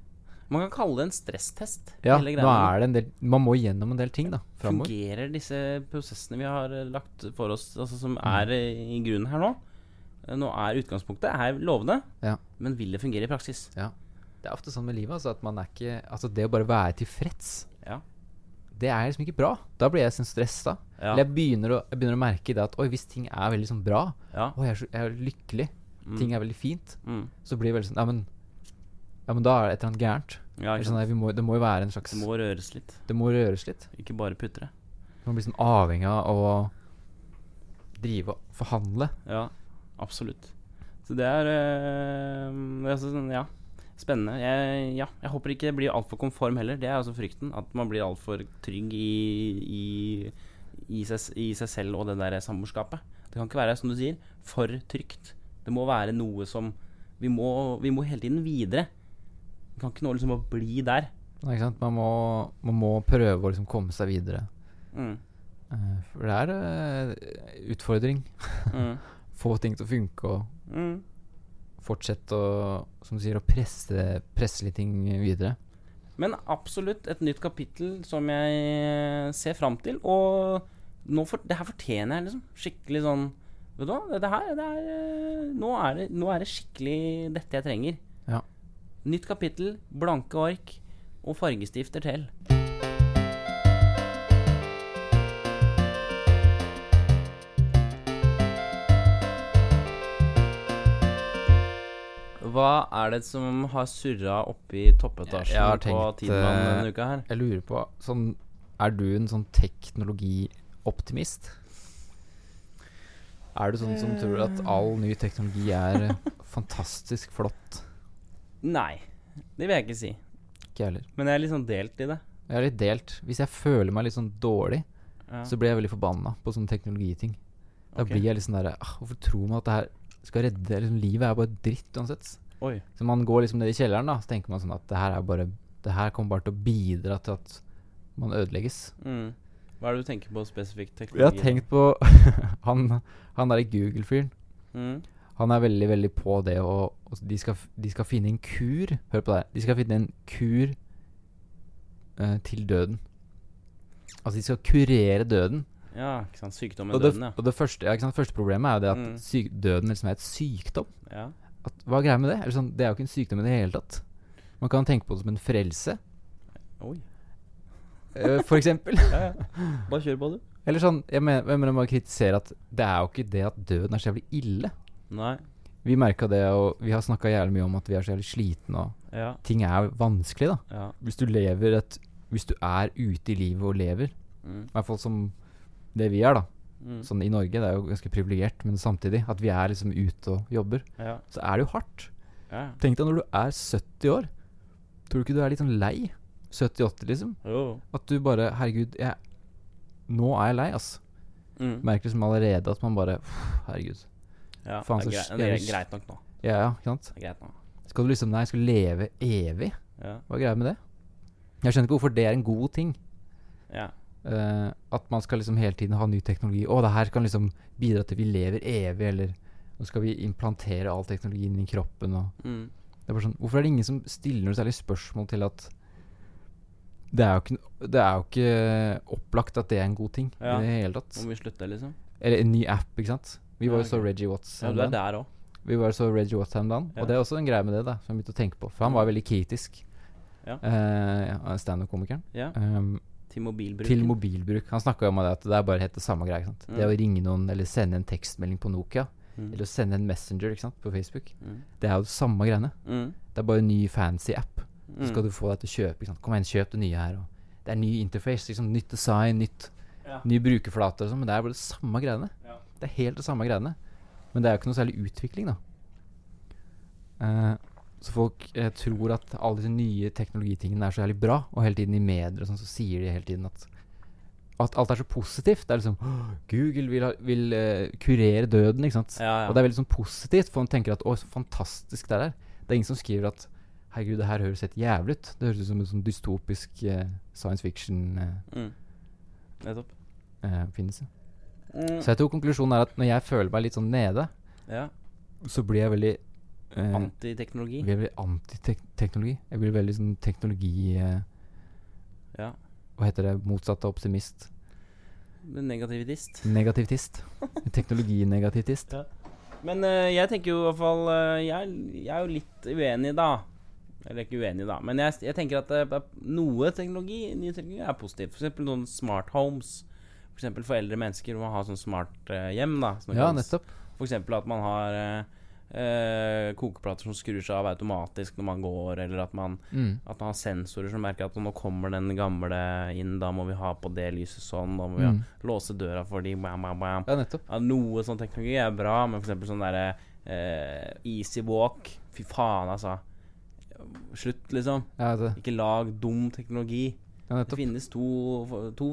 A: Man kan kalle det en stresstest.
B: Ja,
A: hele
B: nå
A: greia.
B: er det en del Man må gjennom en del ting, da. Framover.
A: Fungerer disse prosessene vi har eh, lagt for oss, altså som
B: Mm.
A: er eh, i grunnen her nå? Eh, Nå er utgangspunktet er lovende,
B: Ja.
A: men vil det fungere i praksis?
B: Det er ofte sånn med livet, altså, at man er ikke Altså, det å bare være tilfreds,
A: Ja.
B: det er liksom ikke bra. Da blir jeg sånn stressa.
A: Ja.
B: Eller jeg begynner, å, jeg begynner å merke det at oi, hvis ting er veldig sånn bra,
A: Ja.
B: å, jeg er, så, jeg er lykkelig, ting er veldig fint,
A: Mm.
B: så blir det veldig sånn Ja, men ja, men da er det et eller annet gærent.
A: ja
B: Eller
A: ikke
B: sånn,
A: sant?
B: nei, vi må, det må jo være en slags
A: Det må røres litt,
B: Det må røres litt.
A: ikke bare putre.
B: Man blir sånn avhengig av å drive og forhandle.
A: Ja, absolutt. Så det er eh, det er sånn, Ja, spennende. Jeg, ja, jeg håper ikke det blir altfor konform heller. Det er altså frykten. At man blir altfor trygg i, i, i, seg, s- i seg selv og det der samboerskapet. Det kan ikke være, som du sier, for trygt. Det må være noe som Vi må, vi må hele tiden videre. Vi kan ikke nå liksom bare bli der.
B: Nei, Ikke sant? Man, må, man må prøve å liksom komme seg videre.
A: Mm.
B: Eh, For det er eh, utfordring.
A: Mm.
B: Få ting til å funke og
A: Mm.
B: fortsette å, som du sier, å presse, presse litt ting videre.
A: Men absolutt et nytt kapittel som jeg eh, ser fram til. Og nå for, det her fortjener jeg liksom skikkelig sånn Vet du hva, det- det her det er, eh, nå, er det, nå er det skikkelig dette jeg trenger.
B: Ja.
A: Nytt kapittel, blanke ark og fargestifter til. Hva er det som har surra oppi
B: Jeg
A: toppetasjen
B: har
A: på
B: tenkt,
A: Tidemann
B: eh,
A: denne uka her?
B: Jeg lurer på, sånn, er du en sånn teknologioptimist? Er du sånn som tror at all ny teknologi er eh, fantastisk flott?
A: Nei, det vil jeg ikke si.
B: Ikke jeg heller.
A: Men jeg er litt sånn delt i det.
B: Jeg er litt delt. Hvis jeg føler meg litt sånn dårlig,
A: Ja.
B: så blir jeg veldig forbanna på sånne teknologiting. Da
A: Ok.
B: blir jeg litt sånn derre ah, Hvorfor tror man at det her skal redde liksom, Livet er bare dritt uansett.
A: Oi.
B: Så man går liksom ned i kjelleren, da, så tenker man sånn at det her er bare Det her kommer bare til å bidra til at man ødelegges.
A: Mm. Hva er det du tenker på spesifikt?
B: Jeg har tenkt på [laughs] han, han derre Google-fyren.
A: mm.
B: Han er veldig, veldig på det å å- de, skal, f- de skal finne en kur Hør på det her. De skal finne en kur eh, til døden. Altså, de skal kurere døden.
A: Ja, ikke sant. Sykdom
B: Og
A: og
B: det,
A: døden, ja.
B: og det første, ja, ikke sant? første problemet er jo det at
A: Mm.
B: syk, døden liksom er et sykdom.
A: ja.
B: at, hva er greia med det? Eller sånn, det er jo ikke en sykdom i det hele tatt. Man kan tenke på det som en frelse,
A: Oi.
B: eh,
A: [laughs]
B: for eksempel.
A: Ja, ja. Bare kjør på, du.
B: Eller sånn, jeg mener, jeg mener bare kritisere at det er jo ikke det at døden er så jævlig ille.
A: Nei.
B: Vi merka det, og vi har snakka jævlig mye om at vi er så jævlig slitne, og
A: Ja.
B: ting er jo vanskelig, da.
A: Ja.
B: Hvis du lever et Hvis du er ute i livet og lever,
A: Mm.
B: i hvert fall som det vi er, da.
A: Mm.
B: Sånn i Norge, det er jo ganske privilegert, men samtidig, at vi er liksom ute og jobber,
A: Ja.
B: så er det jo hardt.
A: ja.
B: Tenk deg når du er 70 år. Tror du ikke du er litt sånn lei? 70-80, liksom?
A: Jo.
B: At du bare Herregud, jeg, nå er jeg lei, ass.
A: Mm.
B: Merker liksom allerede at man bare «Pff, Herregud.
A: Ja,
B: Faen,
A: det, er
B: så
A: grei, det er
B: jævlig-
A: greit nok nå.
B: Ja, ja, ikke sant?
A: Det er greit nå.
B: Skal du liksom Nei, jeg skal leve evig?
A: Ja.
B: Hva er greia med det? Jeg skjønner ikke hvorfor det er en god ting.
A: ja.
B: Eh, at man skal liksom hele tiden ha ny teknologi. Å, det her kan liksom bidra til at vi lever evig, eller nå skal vi implantere all teknologien i kroppen og
A: Mm.
B: det er bare sånn, Hvorfor er det ingen som stiller noe særlig spørsmål til at det er, jo ikke, det er jo ikke opplagt at det er en god ting
A: Ja.
B: i det hele tatt.
A: Må vi slutte, liksom?
B: Eller en ny app, ikke sant. Vi
A: Ja,
B: var jo så
A: ok.
B: Reggie Watts
A: Ja,
B: om
A: du er
B: dagen.
A: der òg.
B: Vi var jo så Reggie Watts her om dagen.
A: Ja. Mm.
B: Og det er også en greie med det, da som jeg begynte å tenke på. For han var veldig kritisk.
A: Ja.
B: Eh, ja, Standup-komikeren.
A: Ja.
B: Um,
A: Til mobilbruk.
B: til mobilbruk. Han snakka om det at det er bare helt det samme greia. ikke sant?
A: Mm.
B: Det å ringe noen eller sende en tekstmelding på Nokia,
A: Mm.
B: eller å sende en Messenger ikke sant, på Facebook,
A: Mm.
B: det er jo det samme greiene.
A: Mm.
B: Det er bare en ny fancy app. Så
A: Mm.
B: skal du få deg til å kjøpe. ikke sant? Kom igjen, kjøp det nye her. Og det er ny interface, liksom nytt design, nytt,
A: Ja.
B: ny brukerflate og sånn, men det er bare det samme greiene.
A: Ja.
B: Det er helt det samme greiene. Men det er jo ikke noe særlig utvikling, da. Eh, så folk eh, tror at alle disse nye teknologitingene er så jævlig bra, og hele tiden i medier og sånn, så sier de hele tiden at at alt er så positivt. Det er liksom «Åh, Google vil, ha, vil eh, kurere døden, ikke sant.
A: Ja, ja.
B: Og det er veldig sånn positivt, for man tenker at å, så fantastisk det er. Det er ingen som skriver at herregud, det her høres helt jævlig ut. Det høres ut som en sånn dystopisk eh, science fiction-oppfinnelse.
A: Mm. Nettopp.
B: Eh, oppfinnelse.
A: Mm.
B: så jeg tror konklusjonen er at når jeg føler meg litt sånn nede,
A: Ja.
B: så blir jeg veldig eh,
A: Antiteknologi.
B: jeg blir veldig antiteknologi. Jeg blir veldig sånn teknologi eh,
A: Ja.
B: Hva heter det? Motsatt av optimist.
A: Negativitist.
B: Negativtist. Teknologinegativtist.
A: Men eh, jeg tenker jo i hvert fall eh, jeg, er- jeg er jo litt uenig, da. Eller ikke uenig, da, men jeg, jeg tenker at det er- noe teknologi, ny teknologi er positivt. F.eks. noen smart homes. For, eksempel for eldre mennesker må ha sånn smart eh, hjem. da som det
B: Ja,
A: kalles.
B: nettopp.
A: For eksempel at man har eh, eh, kokeplater som skrur seg av automatisk når man går, eller at man,
B: Mm.
A: at man har sensorer som merker at nå kommer den gamle inn, da må vi ha på det lyset sånn, da må vi ha,
B: Mm.
A: låse døra for de, bam, bam, bam.
B: Ja, nettopp.
A: Ja, noe sånn teknologi er bra, men for eksempel sånn derre eh, easy walk Fy faen, altså. Slutt, liksom.
B: Ja, det,
A: Ikke lag dum teknologi.
B: ja,
A: Det
B: nettopp.
A: finnes to, to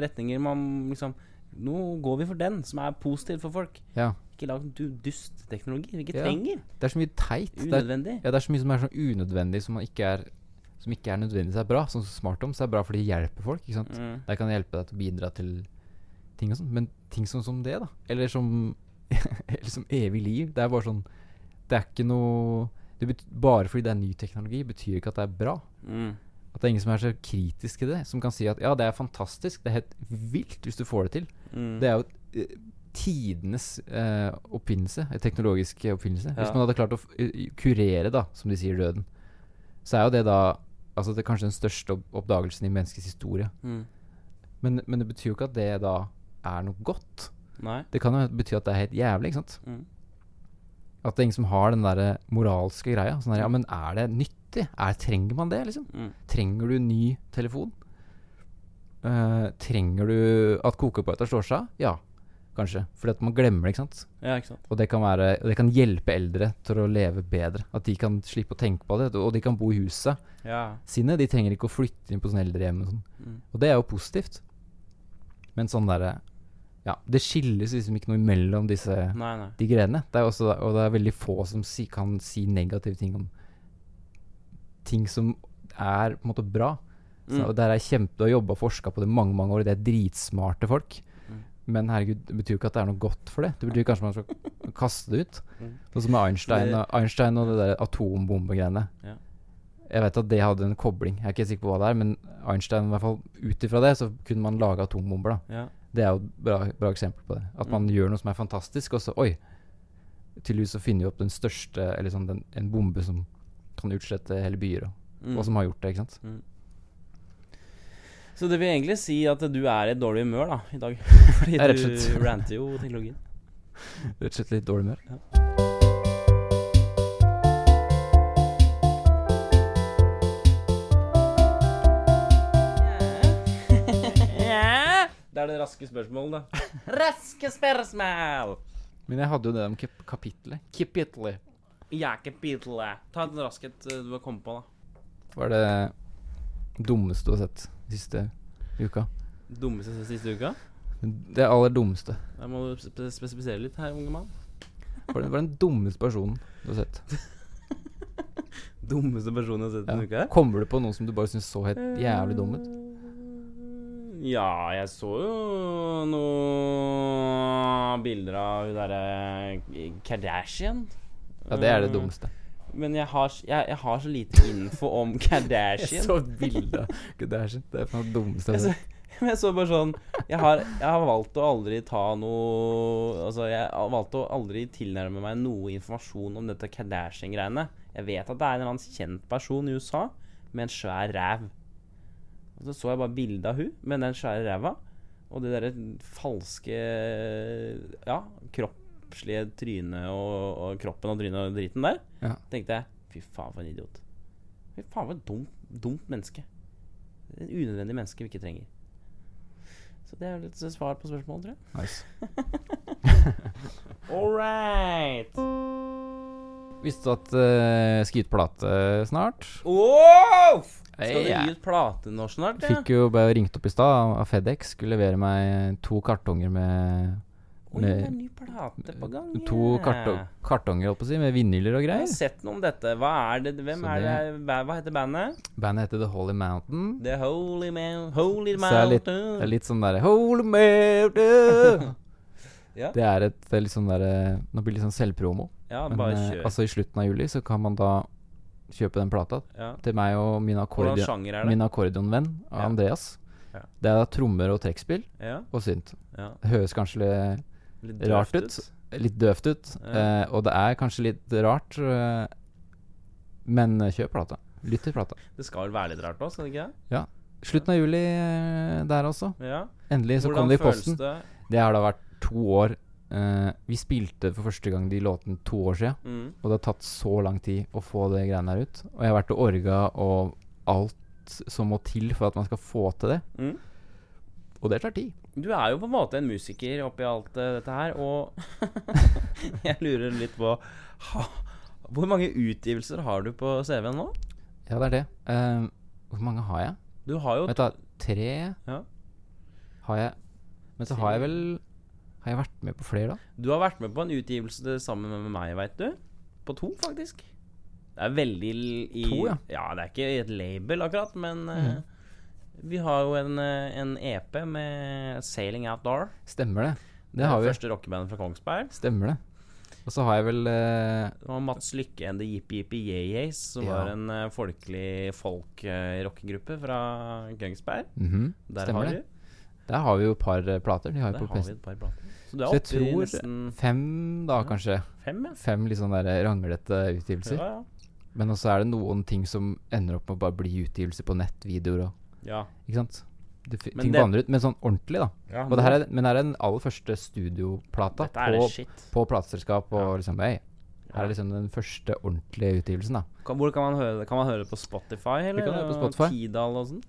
A: retninger man liksom Nå går vi for den, som er positiv for folk.
B: Ja.
A: Ikke lag du dust teknologi vi ikke
B: Ja.
A: trenger.
B: Det er så mye teit. Det er,
A: Unødvendig.
B: ja, det er så mye som er sånn unødvendig som, man ikke er, som ikke er nødvendigvis er bra. Sånn som smarthomes er bra fordi det hjelper folk. ikke sant?
A: Mm.
B: Der kan det hjelpe deg til å bidra til ting og sånn. Men ting sånn som det, da. Eller som, [laughs] eller som evig liv. Det er bare sånn Det er ikke noe det bet, Bare fordi det er ny teknologi, betyr ikke at det er bra.
A: Mm.
B: At det er ingen som er så kritisk til det, som kan si at ja, det er fantastisk, det er helt vilt hvis du får det til.
A: Mm.
B: Det er jo eh, tidenes eh, oppfinnelse, eh, teknologisk oppfinnelse.
A: Ja.
B: Hvis man hadde klart å f- eh, kurere, da, som de sier, døden, så er jo det da Altså det er kanskje den største opp oppdagelsen i menneskets historie.
A: Mm.
B: Men, men det betyr jo ikke at det da er noe godt.
A: Nei.
B: Det kan jo bety at det er helt jævlig, ikke sant.
A: Mm.
B: At det er ingen som har den derre moralske greia. Sånn der, ja, men er det nyttig? Er, trenger man det, liksom?
A: Mm.
B: Trenger du ny telefon? Eh, trenger du at kokepøta slår seg av? Ja, kanskje. Fordi at man glemmer det, ikke sant.
A: Ja, ikke sant.
B: Og det kan, være, og det kan hjelpe eldre til å leve bedre. At de kan slippe å tenke på det. Og de kan bo i huset
A: Ja.
B: sine. De trenger ikke å flytte inn på sånne eldrehjem og sånn.
A: Mm.
B: Og det er jo positivt. Men sånn derre Ja, det skilles liksom ikke noe imellom disse
A: Nei, nei.
B: de greiene. Det er også, og det er veldig få som si, kan si negative ting om ting som er på en måte bra. Så,
A: Mm.
B: og der er kjempe, Du har jobba og forska på det i mange mange år, det er dritsmarte folk.
A: Mm.
B: Men herregud, det betyr jo ikke at det er noe godt for det. Det betyr kanskje
A: [laughs]
B: man skal kaste det ut.
A: Mm.
B: Sånn som med Einstein,
A: Det-
B: og- Einstein og det der atombombegreiene.
A: Ja.
B: Jeg vet at det hadde en kobling. Jeg er ikke sikker på hva det er, men Einstein, i hvert fall ut ifra det, så kunne man lage atombomber. da
A: Ja.
B: det er jo et bra, bra eksempel på det. At
A: Mm.
B: man gjør noe som er fantastisk, og så oi! Tydeligvis så finner vi opp den største Eller sånn den, en bombe som kan utslette hele byer, og,
A: Mm.
B: og som har gjort det, ikke sant?
A: Så det vil egentlig si at du er i et dårlig humør da, i dag. [laughs] Fordi
B: Ja, rett og
A: du
B: slett.
A: ranter jo teknologien.
B: Rett og slett litt dårlig humør.
A: Ja. Det er det raske spørsmålet, da. [laughs] Raske spørsmål!
B: Men jeg hadde jo det om kap kapitlet. Kapitlet.
A: Jeg er ikke Beatle. Ta den raskhet eh, du har kommet på, da.
B: Var det dummeste du har sett siste uka?
A: Dummeste siste uka?
B: Det aller dummeste.
A: Der må du spe- spesifisere litt her, unge mann.
B: Hva er den- hva er den dummeste personen du har sett?
A: Dummeste personen jeg har sett denne uka
B: Ja.
A: her.
B: Kommer du på noen som du bare syns så helt jævlig dum ut?
A: Ja, jeg så jo noen bilder av hun derre Kardashian.
B: Ja, det er det
A: Eh,
B: dummeste.
A: Men jeg har, s- jeg, jeg har så lite info om [laughs]
B: Jeg
A: Kardashian.
B: så et bilde [laughs] av Kardashian. Det er faen det dummeste jeg
A: Jeg
B: har
A: så,
B: sett.
A: men jeg så [laughs] bare sånn jeg har, jeg har valgt å aldri ta noe Altså, jeg har valgt å aldri tilnærme meg noe informasjon om dette Kardashian-greiene. Jeg vet at det er en eller annen kjent person i USA med en svær ræv. Og så så jeg bare bildet av hun med den svære ræva. Og det derre falske Ja, kroppslige trynet og, og kroppen og trynet og driten der.
B: Ja.
A: Tenkte jeg fy faen, for en idiot. Fy faen, for et dumt, dumt menneske. En unødvendig menneske vi ikke trenger. Så det er litt svar på spørsmålet, tror jeg.
B: Nice.
A: All right!
B: Visste du at uh, skal gi ut plate snart?
A: Wow! Skal
B: Hey,
A: du
B: ja.
A: gi ut plate nå snart? ja?
B: Fikk jo bare ringt opp i stad av FedEx. Skulle levere meg to kartonger med
A: Oi, det er en ny plate på gang.
B: To
A: ja.
B: karto kartonger, holdt på å si, med vinyler og
A: Jeg har
B: greier.
A: sett noe om dette. Hva er det, hvem
B: Så
A: er det,
B: det-
A: hva hva heter bandet?
B: Bandet heter The Holy Mountain.
A: The Holy Man Holy
B: Så det er litt,
A: Mountain.
B: det er litt sånn derre Holy Mountain.
A: Ja.
B: Det er et det er litt sånn derre Nå blir det litt sånn selvpromo.
A: ja,
B: Men
A: bare
B: eh,
A: kjør.
B: altså i slutten av juli så kan man da kjøpe den plata
A: ja.
B: til meg og min,
A: Hvordan
B: akkordeon,
A: sjanger er det?
B: min akkordionvenn
A: Ja.
B: Andreas.
A: Ja.
B: Det er da trommer og trekkspill
A: Ja,
B: og synt.
A: ja.
B: Det høres kanskje litt,
A: Litt
B: Rart
A: drøft
B: ut. litt døvt ut,
A: Ja.
B: eh, og det er kanskje litt rart, eh, men eh, kjøp plata. Lytt til plata.
A: Det skal vel være litt rart òg, skal det ikke?
B: Slutten av juli eh, der også.
A: det? Ja.
B: Endelig så
A: Hvordan
B: kom det i
A: føles
B: posten.
A: det?
B: Det har da vært to år. Eh, vi spilte for første gang de låtene to år siden,
A: Mm.
B: og det har tatt så lang tid å få det greiene her ut. Og jeg har vært og orga og alt som må til for at man skal få til det.
A: Mm.
B: Og det tar tid.
A: Du er jo på en måte en musiker oppi alt eh, dette her, og [laughs] jeg lurer litt på ha, Hvor mange utgivelser har du på CV-en nå?
B: Ja, det er det. Eh, hvor mange har jeg?
A: Du har jo
B: Vet du, hva, tre
A: Ja.
B: har jeg. Men så har jeg vel Har jeg vært med på flere, da?
A: Du har vært med på en utgivelse det sammen med meg, veit du. På to, faktisk. Det er veldig l- i,
B: To, ja. Mhm.
A: det er ikke i et label, akkurat, men eh, vi har jo en, eh, en EP med 'Sailing Out Door'.
B: Stemmer det? Det har vi.
A: Første rockebandet fra Kongsberg.
B: Stemmer det. Og så har jeg vel eh,
A: Det var Mats Lykke and The Jippi Jippi Yayas, som
B: Ja.
A: var en eh, folkelig folk-rockegruppe fra Kongsberg.
B: mhm,
A: Der
B: Stemmer
A: har
B: det.
A: du.
B: Der har vi jo et par eh, plater. De har
A: Der
B: jo på
A: har vi
B: pressen.
A: et par plater. Så du
B: Så
A: er
B: jeg
A: oppe i
B: tror-
A: nesten
B: Fem, da, kanskje.
A: fem, ja.
B: Fem litt sånn der ranglete utgivelser.
A: Ja,
B: Men også er det noen ting som ender opp med å bare bli utgivelser på nett, videoer og
A: ja. ja.
B: Ikke sant? Det, f-
A: Men
B: ting
A: det-
B: vandrer ut, men sånn ordentlig, da.
A: ja
B: Og det her er, men det her er den aller første studioplata
A: Dette er det
B: på,
A: shit.
B: på plateselskap. Og
A: Ja.
B: liksom, hey, her er liksom den første ordentlige utgivelsen, da.
A: Kan, hvor kan man høre det? Kan man høre det på Spotify, eller?
B: kan høre det på Spotify.
A: Tidal og sånn?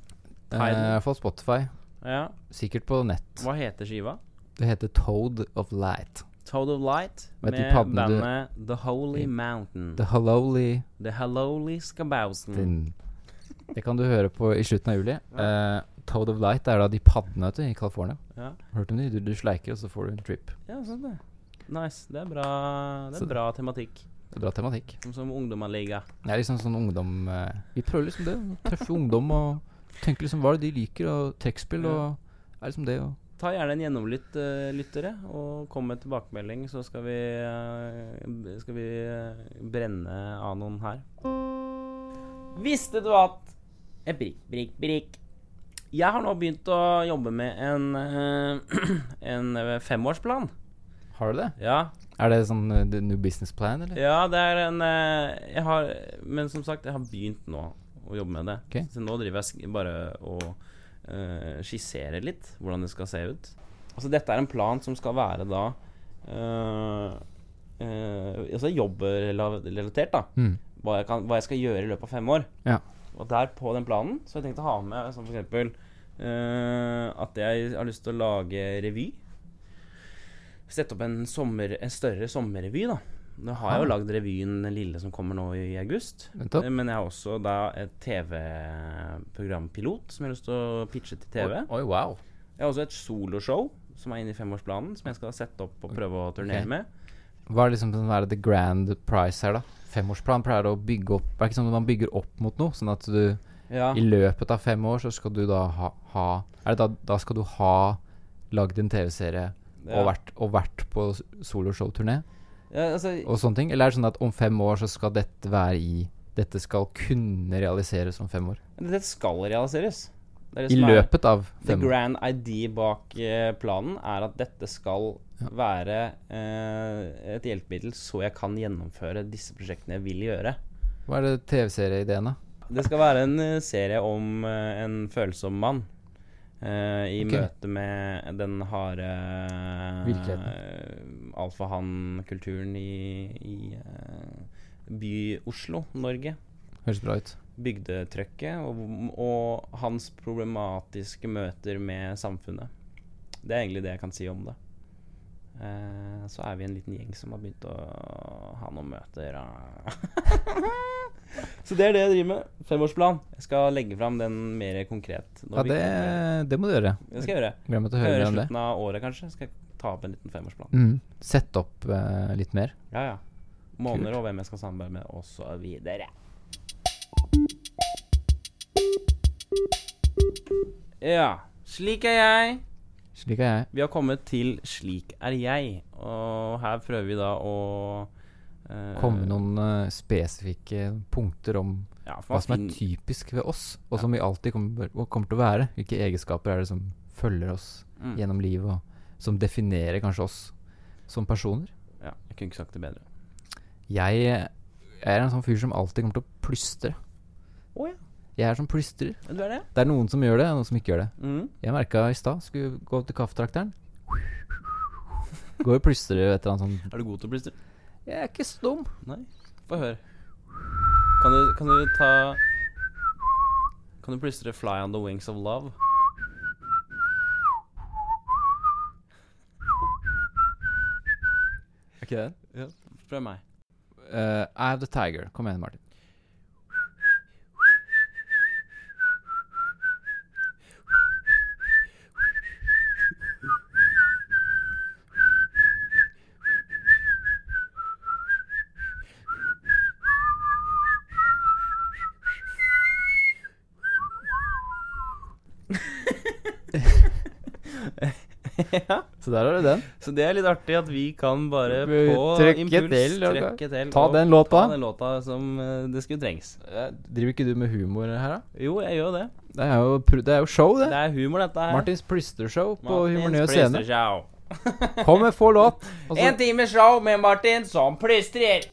B: Eh, I
A: Tidal.
B: hvert fall Spotify.
A: Ja.
B: Sikkert på nett.
A: Hva heter skiva?
B: Det heter Toad of Light.
A: Toad of Light
B: Vet de
A: med
B: paddene du-
A: bandet The Holy Mountain.
B: The Halloly
A: The Hallowly Skabausen.
B: Din. Det kan du høre på i slutten av juli. Eh, Toad of Light er da de paddene vet du, i California.
A: Ja.
B: Hørte om de? Du, du sleiker, og så får du en trip.
A: ja, sånn det. Nice. Det er bra, det
B: Så-
A: er bra tematikk.
B: Det er bra tematikk.
A: Som, som ungdommene liker.
B: Det er liksom sånn ungdom eh, Vi prøver liksom det. [laughs] Tøffe ungdom og tenker liksom hva er det de liker, og trekkspill og er liksom det og
A: Ta gjerne en gjennomlytt, eh, lyttere, og kom med tilbakemelding, så skal vi, eh, skal vi eh, brenne av noen her. Visste du at eh, Brikk, brikk, brikk. Jeg har nå begynt å jobbe med en, eh, [clears throat] en eh, femårsplan.
B: Har du det?
A: Ja,
B: Er det sånn eh, the new business plan, eller?
A: ja det er en eh, jeg har, Men som sagt, jeg har begynt nå å jobbe med det.
B: Ok.
A: Så nå driver jeg sk- bare og eh, skisserer litt hvordan det skal se ut. Altså dette er en plan som skal være da eh, eh, Altså jobbrelatert, da.
B: Mm.
A: Hva jeg, kan, hva jeg skal gjøre i løpet av fem år.
B: Ja.
A: Og der på den planen så har jeg tenkt å ha med som for eksempel eh, at jeg har lyst til å lage revy. Sette opp en, sommer, en større sommerrevy, da. Nå har jeg jo
B: Ah.
A: lagd revyen Den lille som kommer nå i august.
B: Nettopp.
A: Eh, Men jeg har også da et TV-programpilot som jeg har lyst til å pitche til TV.
B: Oi, oi, wow.
A: Jeg har også et soloshow som er inne i femårsplanen, som jeg skal sette opp og prøve å turnere
B: Ok.
A: med.
B: Hva er liksom den være the grand price her, da? Femårsplan pleier å bygge opp Det er ikke sånn at man bygger opp mot noe, sånn at du
A: Ja.
B: I løpet av fem år så skal du da ha, ha Er det da, da skal du ha lagd en TV-serie
A: Ja.
B: og, vært, og vært på s- soloshow-turné
A: Ja, altså,
B: og sånne ting? Eller er det sånn at om fem år så skal dette være i Dette skal kunne realiseres om fem år?
A: det skal realiseres. Det er det
B: I
A: som er-
B: løpet av
A: The
B: fem år?
A: grand idea bak eh, planen er at dette skal være eh, et hjelpemiddel så jeg kan gjennomføre disse prosjektene jeg vil gjøre.
B: Hva er det TV-serieideen, da?
A: Det skal være en eh, serie om eh, en følsom mann. eh, I
B: Ok.
A: møte med den harde
B: Virkeligheten.
A: eh, alfahann-kulturen i, i eh, by Oslo, Norge
B: Høres bra ut.
A: bygdetrykket og, og hans problematiske møter med samfunnet. Det er egentlig det jeg kan si om det. Eh, så er vi en liten gjeng som har begynt å ha noen møter. og- [laughs] så det er det jeg driver med. Femårsplan. Jeg skal legge fram den mer konkret. når
B: Ja,
A: vi-
B: det, det må du gjøre.
A: det skal jeg gjøre.
B: Glem at du
A: Skal jeg
B: hører
A: gjøre i
B: om det.
A: slutten av året, kanskje. Skal jeg ta opp en liten femårsplan.
B: Mm. Sett opp eh, litt mer.
A: Ja, ja. Måneder og hvem jeg skal samarbeide med, og så videre. Ja. Slik er jeg.
B: Slik er jeg.
A: Vi har kommet til Slik er jeg. Og her prøver vi da å eh,
B: Komme med noen eh, spesifikke punkter om
A: ja, for
B: hva
A: man
B: som er
A: finner-
B: typisk ved oss, og som vi alltid kommer, og kommer til å være. Hvilke egenskaper er det som følger oss
A: Mm.
B: gjennom livet, og som definerer kanskje oss som personer?
A: ja, Jeg kunne ikke sagt det bedre.
B: Jeg er en sånn fyr som alltid kommer til å plystre.
A: Å ja,
B: Jeg er som plystrer.
A: du er det?
B: Det er noen som gjør det, og noen som ikke gjør det.
A: Mm.
B: Jeg merka i stad, skulle gå til kaffetrakteren. Går og plystrer et eller annet sånn
A: Er du god til å plystre?
B: Jeg er ikke så dum.
A: Nei. Få høre. Kan du, kan du ta Kan du plystre 'Fly on the wings of love'?
B: Er ikke det? Eh,
A: Prøv meg. [laughs]
B: I have the tiger. Kom igjen, Martin.
A: ja.
B: Så der har du den.
A: Så det er litt artig at vi kan bare
B: Vi
A: på
B: trykker
A: impuls
B: til, ja,
A: trykke til
B: Ta
A: og
B: den låta.
A: ta den låta som eh, det skulle trengs.
B: Eh, Driver ikke du med humor her, da?
A: Jo, jeg gjør det.
B: Det er jo, pr- det er jo show, det.
A: Det er humor, dette her.
B: Martins Plyster-show på
A: Martins
B: Humor Nye Scene.
A: Plystershow.
B: Kom med få låt. og så-
A: En time show med Martin som plystrer.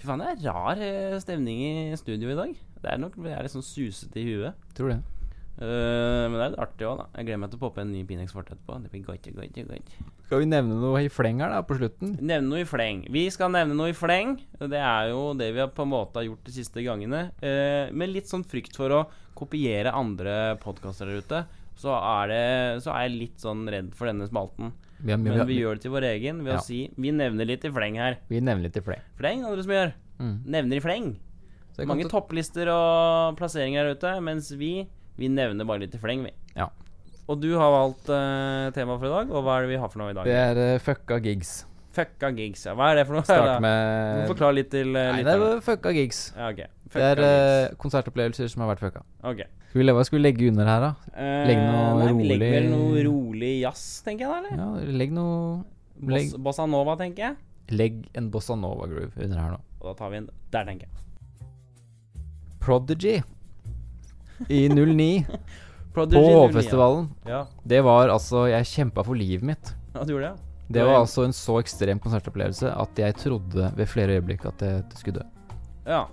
A: Fy faen, det er rar eh, stemning i studio i dag. Det er nok jeg er litt sånn susete i huet.
B: Tror det.
A: Eh, men det er litt artig òg, da. Jeg gleder meg til å poppe en ny Pinex Forte etterpå. Det blir godt, godt, godt.
B: Skal vi nevne noe i fleng her, da, på slutten?
A: Nevne noe i fleng. Vi skal nevne noe i fleng. Det er jo det vi har på en måte har gjort de siste gangene. Eh, med litt sånn frykt for å kopiere andre podkaster der ute, så er, det, så er jeg litt sånn redd for denne spalten.
B: Vi, har, mye-
A: Men vi
B: vi,
A: gjør det til vår egen ved
B: Ja.
A: å si vi nevner litt i fleng her.
B: vi nevner litt i fleng.
A: Fleng, andre som gjør.
B: Mm.
A: Nevner i fleng.
B: Så jeg kan
A: Mange
B: ta-
A: topplister og plasseringer der ute, mens vi, vi nevner bare litt i fleng, vi.
B: Ja.
A: Og du har valgt eh, tema for i dag, og hva er det vi har for noe i dag?
B: Det er eh, fucka gigs.
A: Fucka gigs, [laughs] ja. Hva er det for noe?
B: Start
A: Du
B: med
A: må forklare litt til uh,
B: Nei, det
A: lytterne.
B: er fucka gigs.
A: Ja, ok.
B: Det
A: Fucka
B: er eh,
A: gigs.
B: konsertopplevelser som har vært fucka.
A: Ok.
B: Skal vi, le- hva skal vi legge under her, da?
A: Eh,
B: legg noe
A: nei, Vi legger vel noe
B: rolig-
A: rolig jazz, tenker jeg da, eller?
B: Ja, legg noe
A: Boss,
B: legg,
A: bossa nova, tenker jeg.
B: legg en bossa nova-groove under her nå.
A: Og da tar vi en der, tenker jeg.
B: Prodigy i 09
A: [laughs] Prodigy
B: på
A: 09,
B: Hovfestivalen.
A: Ja.
B: Det var altså Jeg kjempa for livet mitt.
A: ja, du gjorde det,
B: Det
A: Det var
B: var
A: en-
B: altså en så ekstrem konsertopplevelse at jeg trodde ved flere øyeblikk at jeg at jeg skulle dø.
A: ja? Ja.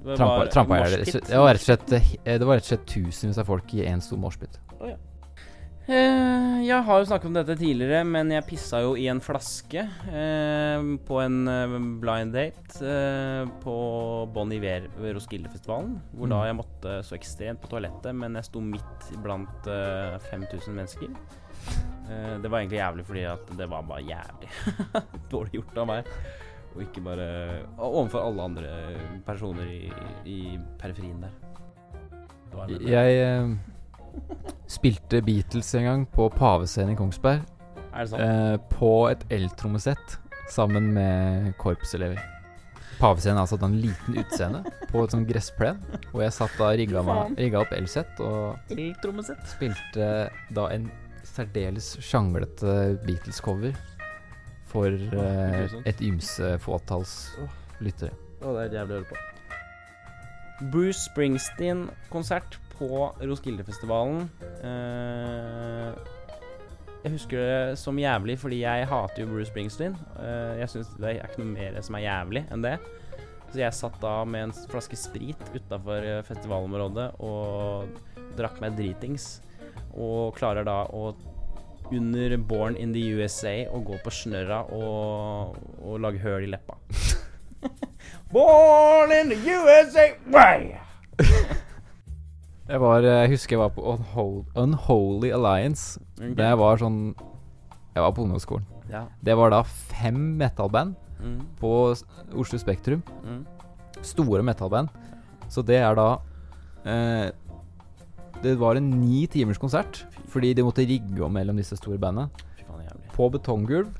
A: Det var
B: Trampa,
A: bare
B: trampa jeg
A: moshpit.
B: Det var rett og slett eh, Det var rett og slett tusenvis av folk i én stor moshpit.
A: Eh, jeg har jo snakket om dette tidligere, men jeg pissa jo i en flaske eh, på en eh, blind date eh, på Bon Iver ved Roskildefestivalen. Hvor da
B: Mm.
A: jeg måtte så ekstremt på toalettet, men jeg sto midt blant eh, 5000 mennesker. Eh, det var egentlig jævlig fordi at det var bare jævlig [laughs] dårlig gjort av meg. Og ikke bare overfor alle andre personer i, i periferien der. Det var en-
B: Jeg eh, Spilte Beatles en gang på Pavescenen i Kongsberg.
A: Er det sant?
B: Eh, på et eltrommesett sammen med korpselever. Pavescenen er altså da en liten utseende på et sånn gressplen. Og jeg satt da og rigga meg- rigga opp elsett og
A: Eltrommesett.
B: spilte da en særdeles sjanglete Beatles-cover for eh,
A: grusomt.
B: et ymse fåtalls
A: Åh.
B: lyttere.
A: Å, det er jævlig å høre på. Bruce Springsteen-konsert på Roskildefestivalen. Eh, jeg husker det som jævlig fordi jeg hater jo Bruce Springsteen. Eh, jeg syns det er ikke noe mer som er jævlig enn det. Så jeg satt da med en flaske sprit utafor festivalområdet og drakk meg dritings. Og klarer da å under Born in the USA å gå på snørra og, og lage høl i leppa. Born in the USA way!
B: Jeg, var, eh, jeg husker jeg var på Unhol- Unholy Alliance. Det var sånn Jeg var på ungdomsskolen.
A: Ja.
B: Det var da fem metalband
A: Mm,
B: på S- Oslo Spektrum.
A: mm.
B: Store metalband. Så det er da eh, Det var en ni timers konsert fordi de måtte rigge om mellom disse store bandene.
A: Fy faen, det er jævlig.
B: på betonggulv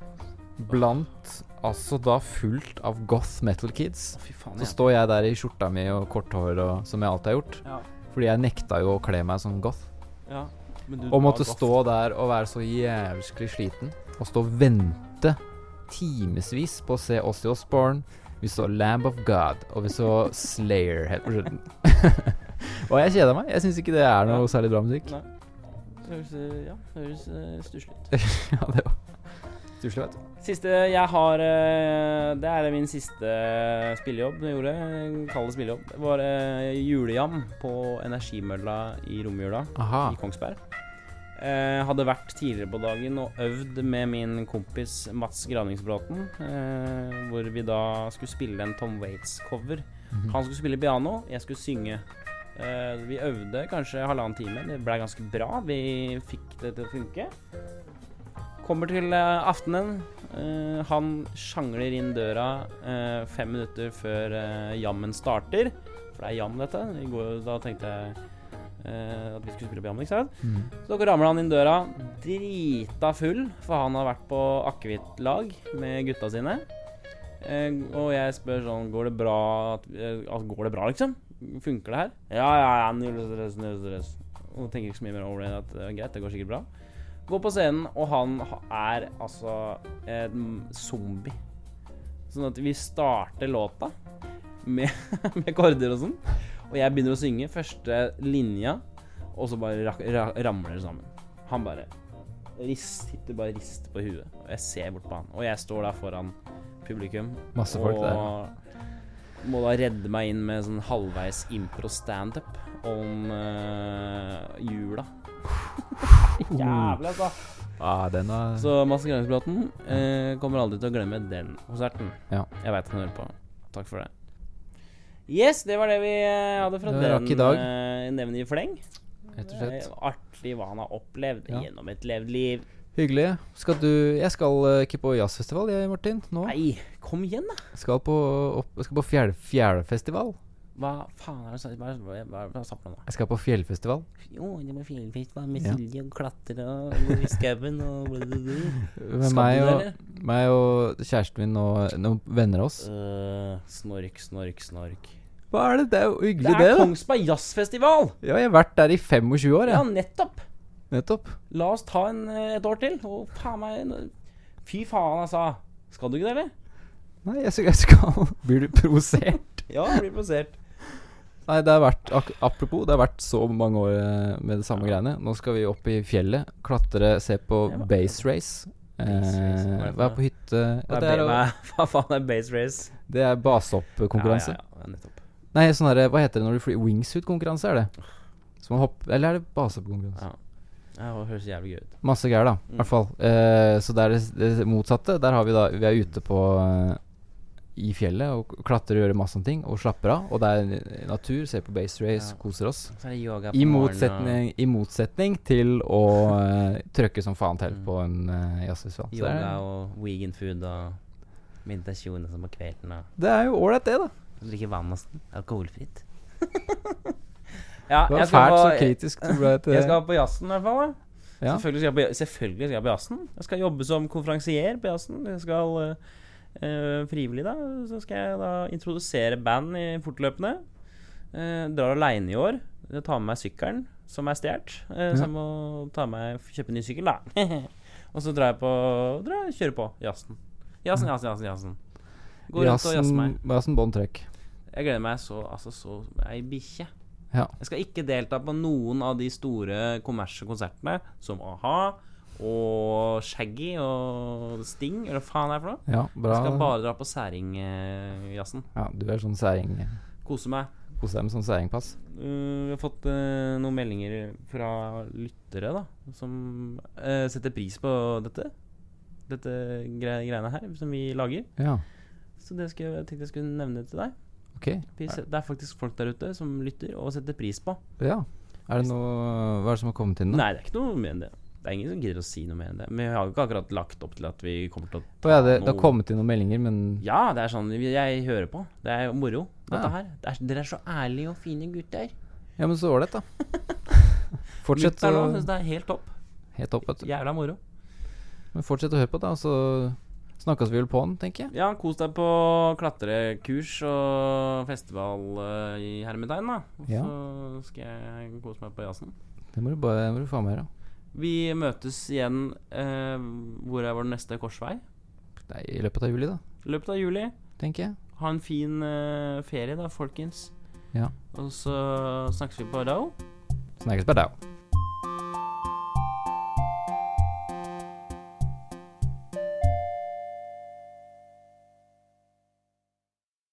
B: blant altså da fullt av goth metal kids.
A: Å, fy faen,
B: Så
A: det er
B: står jeg der i skjorta mi og kort hår og som jeg alltid har gjort.
A: Ja.
B: Fordi jeg nekta jo å kle meg som goth.
A: jævlig. Ja. Men du
B: Og måtte
A: var godt.
B: stå der og være så jævlig sliten. Og stå og vente timevis på å se Ozzy Osbourne. Vi så Lamb of God, og vi så Slayer helt på slutten. [laughs] og jeg kjeda meg. Jeg syns ikke det er noe særlig bra musikk.
A: Nei. Det høres, eh, ja, det høres eh, stusslig ut.
B: [laughs] ja, det var stusslig, vet du.
A: Siste jeg har eh, Det er min siste eh, spillejobb jeg gjorde. Kall det spillejobb. Det var eh, julejam på Energimølla i romjula.
B: Aha.
A: i Kongsberg. Eh, hadde vært tidligere på dagen og øvd med min kompis Mats Graningsbråten. Eh, hvor vi da skulle spille en Tom Waits-cover.
B: Mhm.
A: Han skulle spille piano, jeg skulle synge. Eh, vi øvde kanskje halvannen time. Det ble ganske bra. Vi fikk det til å funke. Kommer til eh, aftenen. Eh, han sjangler inn døra eh, fem minutter før eh, jammen starter. For det er jam, dette. I går, da tenkte jeg eh, at vi skulle spille på jam, ikke sant?
B: Mm.
A: Så ramler han inn døra drita full, for han har vært på akevittlag med gutta sine. Eh, og jeg spør sånn Går det bra? At, eh, altså, går det bra, liksom? Funker det her? Ja, ja, ja. Null stress, null stress. Og tenker ikke så mye mer over det. At det er greit, det går sikkert bra. Går på scenen, og han ha- er altså en zombie. Sånn at vi starter låta med, [laughs] med korder og sånn. Og jeg begynner å synge første linja. Og så bare rak ra ramler det sammen. Han bare rist, sitter bare rist på huet. Og jeg ser bort på han. Og jeg står der foran publikum
B: Masse folk der.
A: og må da redde meg inn med sånn halvveis impro-standup om eh, jula. Jævlig, altså.
B: Mhm. Ja, den er
A: Så Mads Gransbråten eh, kommer aldri til å glemme den konserten.
B: Ja.
A: Jeg veit han hører på. Takk for det. Yes, det var det vi eh, hadde fra
B: Det rakk i
A: den
B: dag.
A: eh, nevner i fleng.
B: rett og
A: Det
B: slett
A: er artig hva han har opplevd
B: Ja.
A: gjennom et levd liv.
B: hyggelig. Skal du Jeg skal eh, ikke på jazzfestival, jeg, Martin. Nå.
A: Nei, kom igjen, da!
B: Skal på, opp, jeg skal på fjell, fjellfestival.
A: Hva faen er det som Hva hva- hva- hva sa han nå?
B: Jeg skal på fjellfestival.
A: Jo, det var filmfisk med
B: Ja.
A: Silje og klatre og gå i skauen og
B: Med
A: Skal
B: meg
A: du det,
B: og, meg og kjæresten min og noen venner av oss.
A: Øh, Snork, snork, snork.
B: Hva er det? Det er jo
A: Det
B: hyggelig, det.
A: er
B: da
A: Kongsberg Jazzfestival!
B: Ja, jeg har vært der i 25 år,
A: Ja,
B: jeg.
A: nettopp!
B: Nettopp.
A: La oss ta en, eh, et år til. Og faen meg nå- Fy faen, altså. Skal du ikke det, eller?
B: Nei, jeg skal, jeg skal. [laughs] Blir du provosert?
A: Ja, jeg blir
B: [laughs]
A: provosert.
B: Nei, det har vært ak Apropos, det har vært så mange år eh, med det samme greiene. Nå skal vi opp i fjellet, klatre, se på
A: Ja, hva-
B: base race.
A: Base race, hva er
B: Eh,
A: det for
B: være
A: noe?
B: på hytte ja,
A: [laughs] Hva
B: det, er, å-
A: faen er base race?
B: det er basehoppkonkurranse.
A: Ja, ja, ja, nettopp.
B: Nei, sånn herre Hva heter det når du flyr? Wingsuit-konkurranse, er det? Så man hopper Eller er det basehoppkonkurranse?
A: Ja. Ja, det høres jævlig gøy ut.
B: Masse greier, da. I
A: Mm.
B: hvert fall. Eh, så det er det, s- det motsatte. Der har vi da Vi er ute på eh, i fjellet og k- klatrer og gjør masse sånne ting og slapper av. Og det er eh, natur, ser på base race,
A: Ja.
B: koser oss.
A: Så er det yoga på
B: I
A: morgenen,
B: motsetning, I motsetning til å eh, trøkke som faen til
A: Mm.
B: på en eh, jazzfestival. Så
A: og
B: det
A: Yoga
B: er-
A: og vegan food og meditasjon og sånn på kvelden. Og
B: Det er jo ålreit, det, da.
A: drikke vann og sånn. Alkoholfritt. [laughs] Ja,
B: Du var
A: jeg skal
B: fælt så
A: på-
B: kritisk du ble til
A: Jeg skal på jazzen i hvert fall. da.
B: Ja.
A: Selvfølgelig, skal jeg på, selvfølgelig skal jeg på jazzen. Jeg skal jobbe som konferansier på jazzen. Jeg skal eh, eh, frivillig, da. Så skal jeg da introdusere band i fortløpende. Eh, drar aleine i år. Jeg tar med meg sykkelen som er stjålet. Eh, Så jeg må ta med, kjøpe ny sykkel, da. [laughs] og så drar jeg på drar, jeg- kjører på jazzen. Jazzen, jazzen, jazzen. jazzen. Går rundt og jazzer meg.
B: Jazzen sånn bånd trøkk.
A: Jeg gleder meg så altså så ei bikkje.
B: Ja.
A: Jeg skal ikke delta på noen av de store kommersielle konsertene, som A-ha og Shaggy og Sting, eller hva faen er det for noe.
B: Ja, bra.
A: Jeg skal bare dra på særingjazzen.
B: Ja, du er sånn særing
A: Kose meg.
B: Kose deg med sånn særingpass.
A: Uh, vi har fått eh, noen meldinger fra lyttere da som eh, setter pris på dette. Dette gre greiene her som vi lager.
B: Ja,
A: Så det skulle, jeg- jeg tenkte jeg skulle nevne til deg.
B: ok.
A: Vi se- Det er faktisk folk der ute som lytter og setter pris på.
B: Ja. Er det noe Hva er det som har kommet inn nå?
A: Nei, det er ikke noe mer enn det. Det er ingen som gidder å si noe mer enn det. Men vi har jo ikke akkurat lagt opp til at vi kommer til å
B: Å ja, det, det har
A: noe-
B: kommet inn noen meldinger, men
A: Ja, det er sånn vi- jeg hører på. Det er jo moro, dette
B: Ja.
A: her. Det er, dere er så ærlige og fine gutter.
B: Ja, men så
A: [laughs]
B: ålreit, da. Fortsett å
A: Lytterne nå synes det er helt topp.
B: Helt topp, vet du.
A: Jævla moro.
B: Men fortsett å høre på, da, og så snakkes vi vel på den, tenker jeg.
A: Ja, kos deg på klatrekurs og festival eh, i Hermetegn, da. Og
B: Ja.
A: Så skal jeg kose meg på jazzen.
B: Det må du bare må du faen meg gjøre.
A: Vi møtes igjen eh, Hvor er vår neste korsvei?
B: Det er I løpet av juli, da,
A: I løpet av juli.
B: tenker jeg.
A: Ha en fin eh, ferie, da, folkens.
B: Ja.
A: Og så snakkes vi på Rao.
B: Snakkes på deg.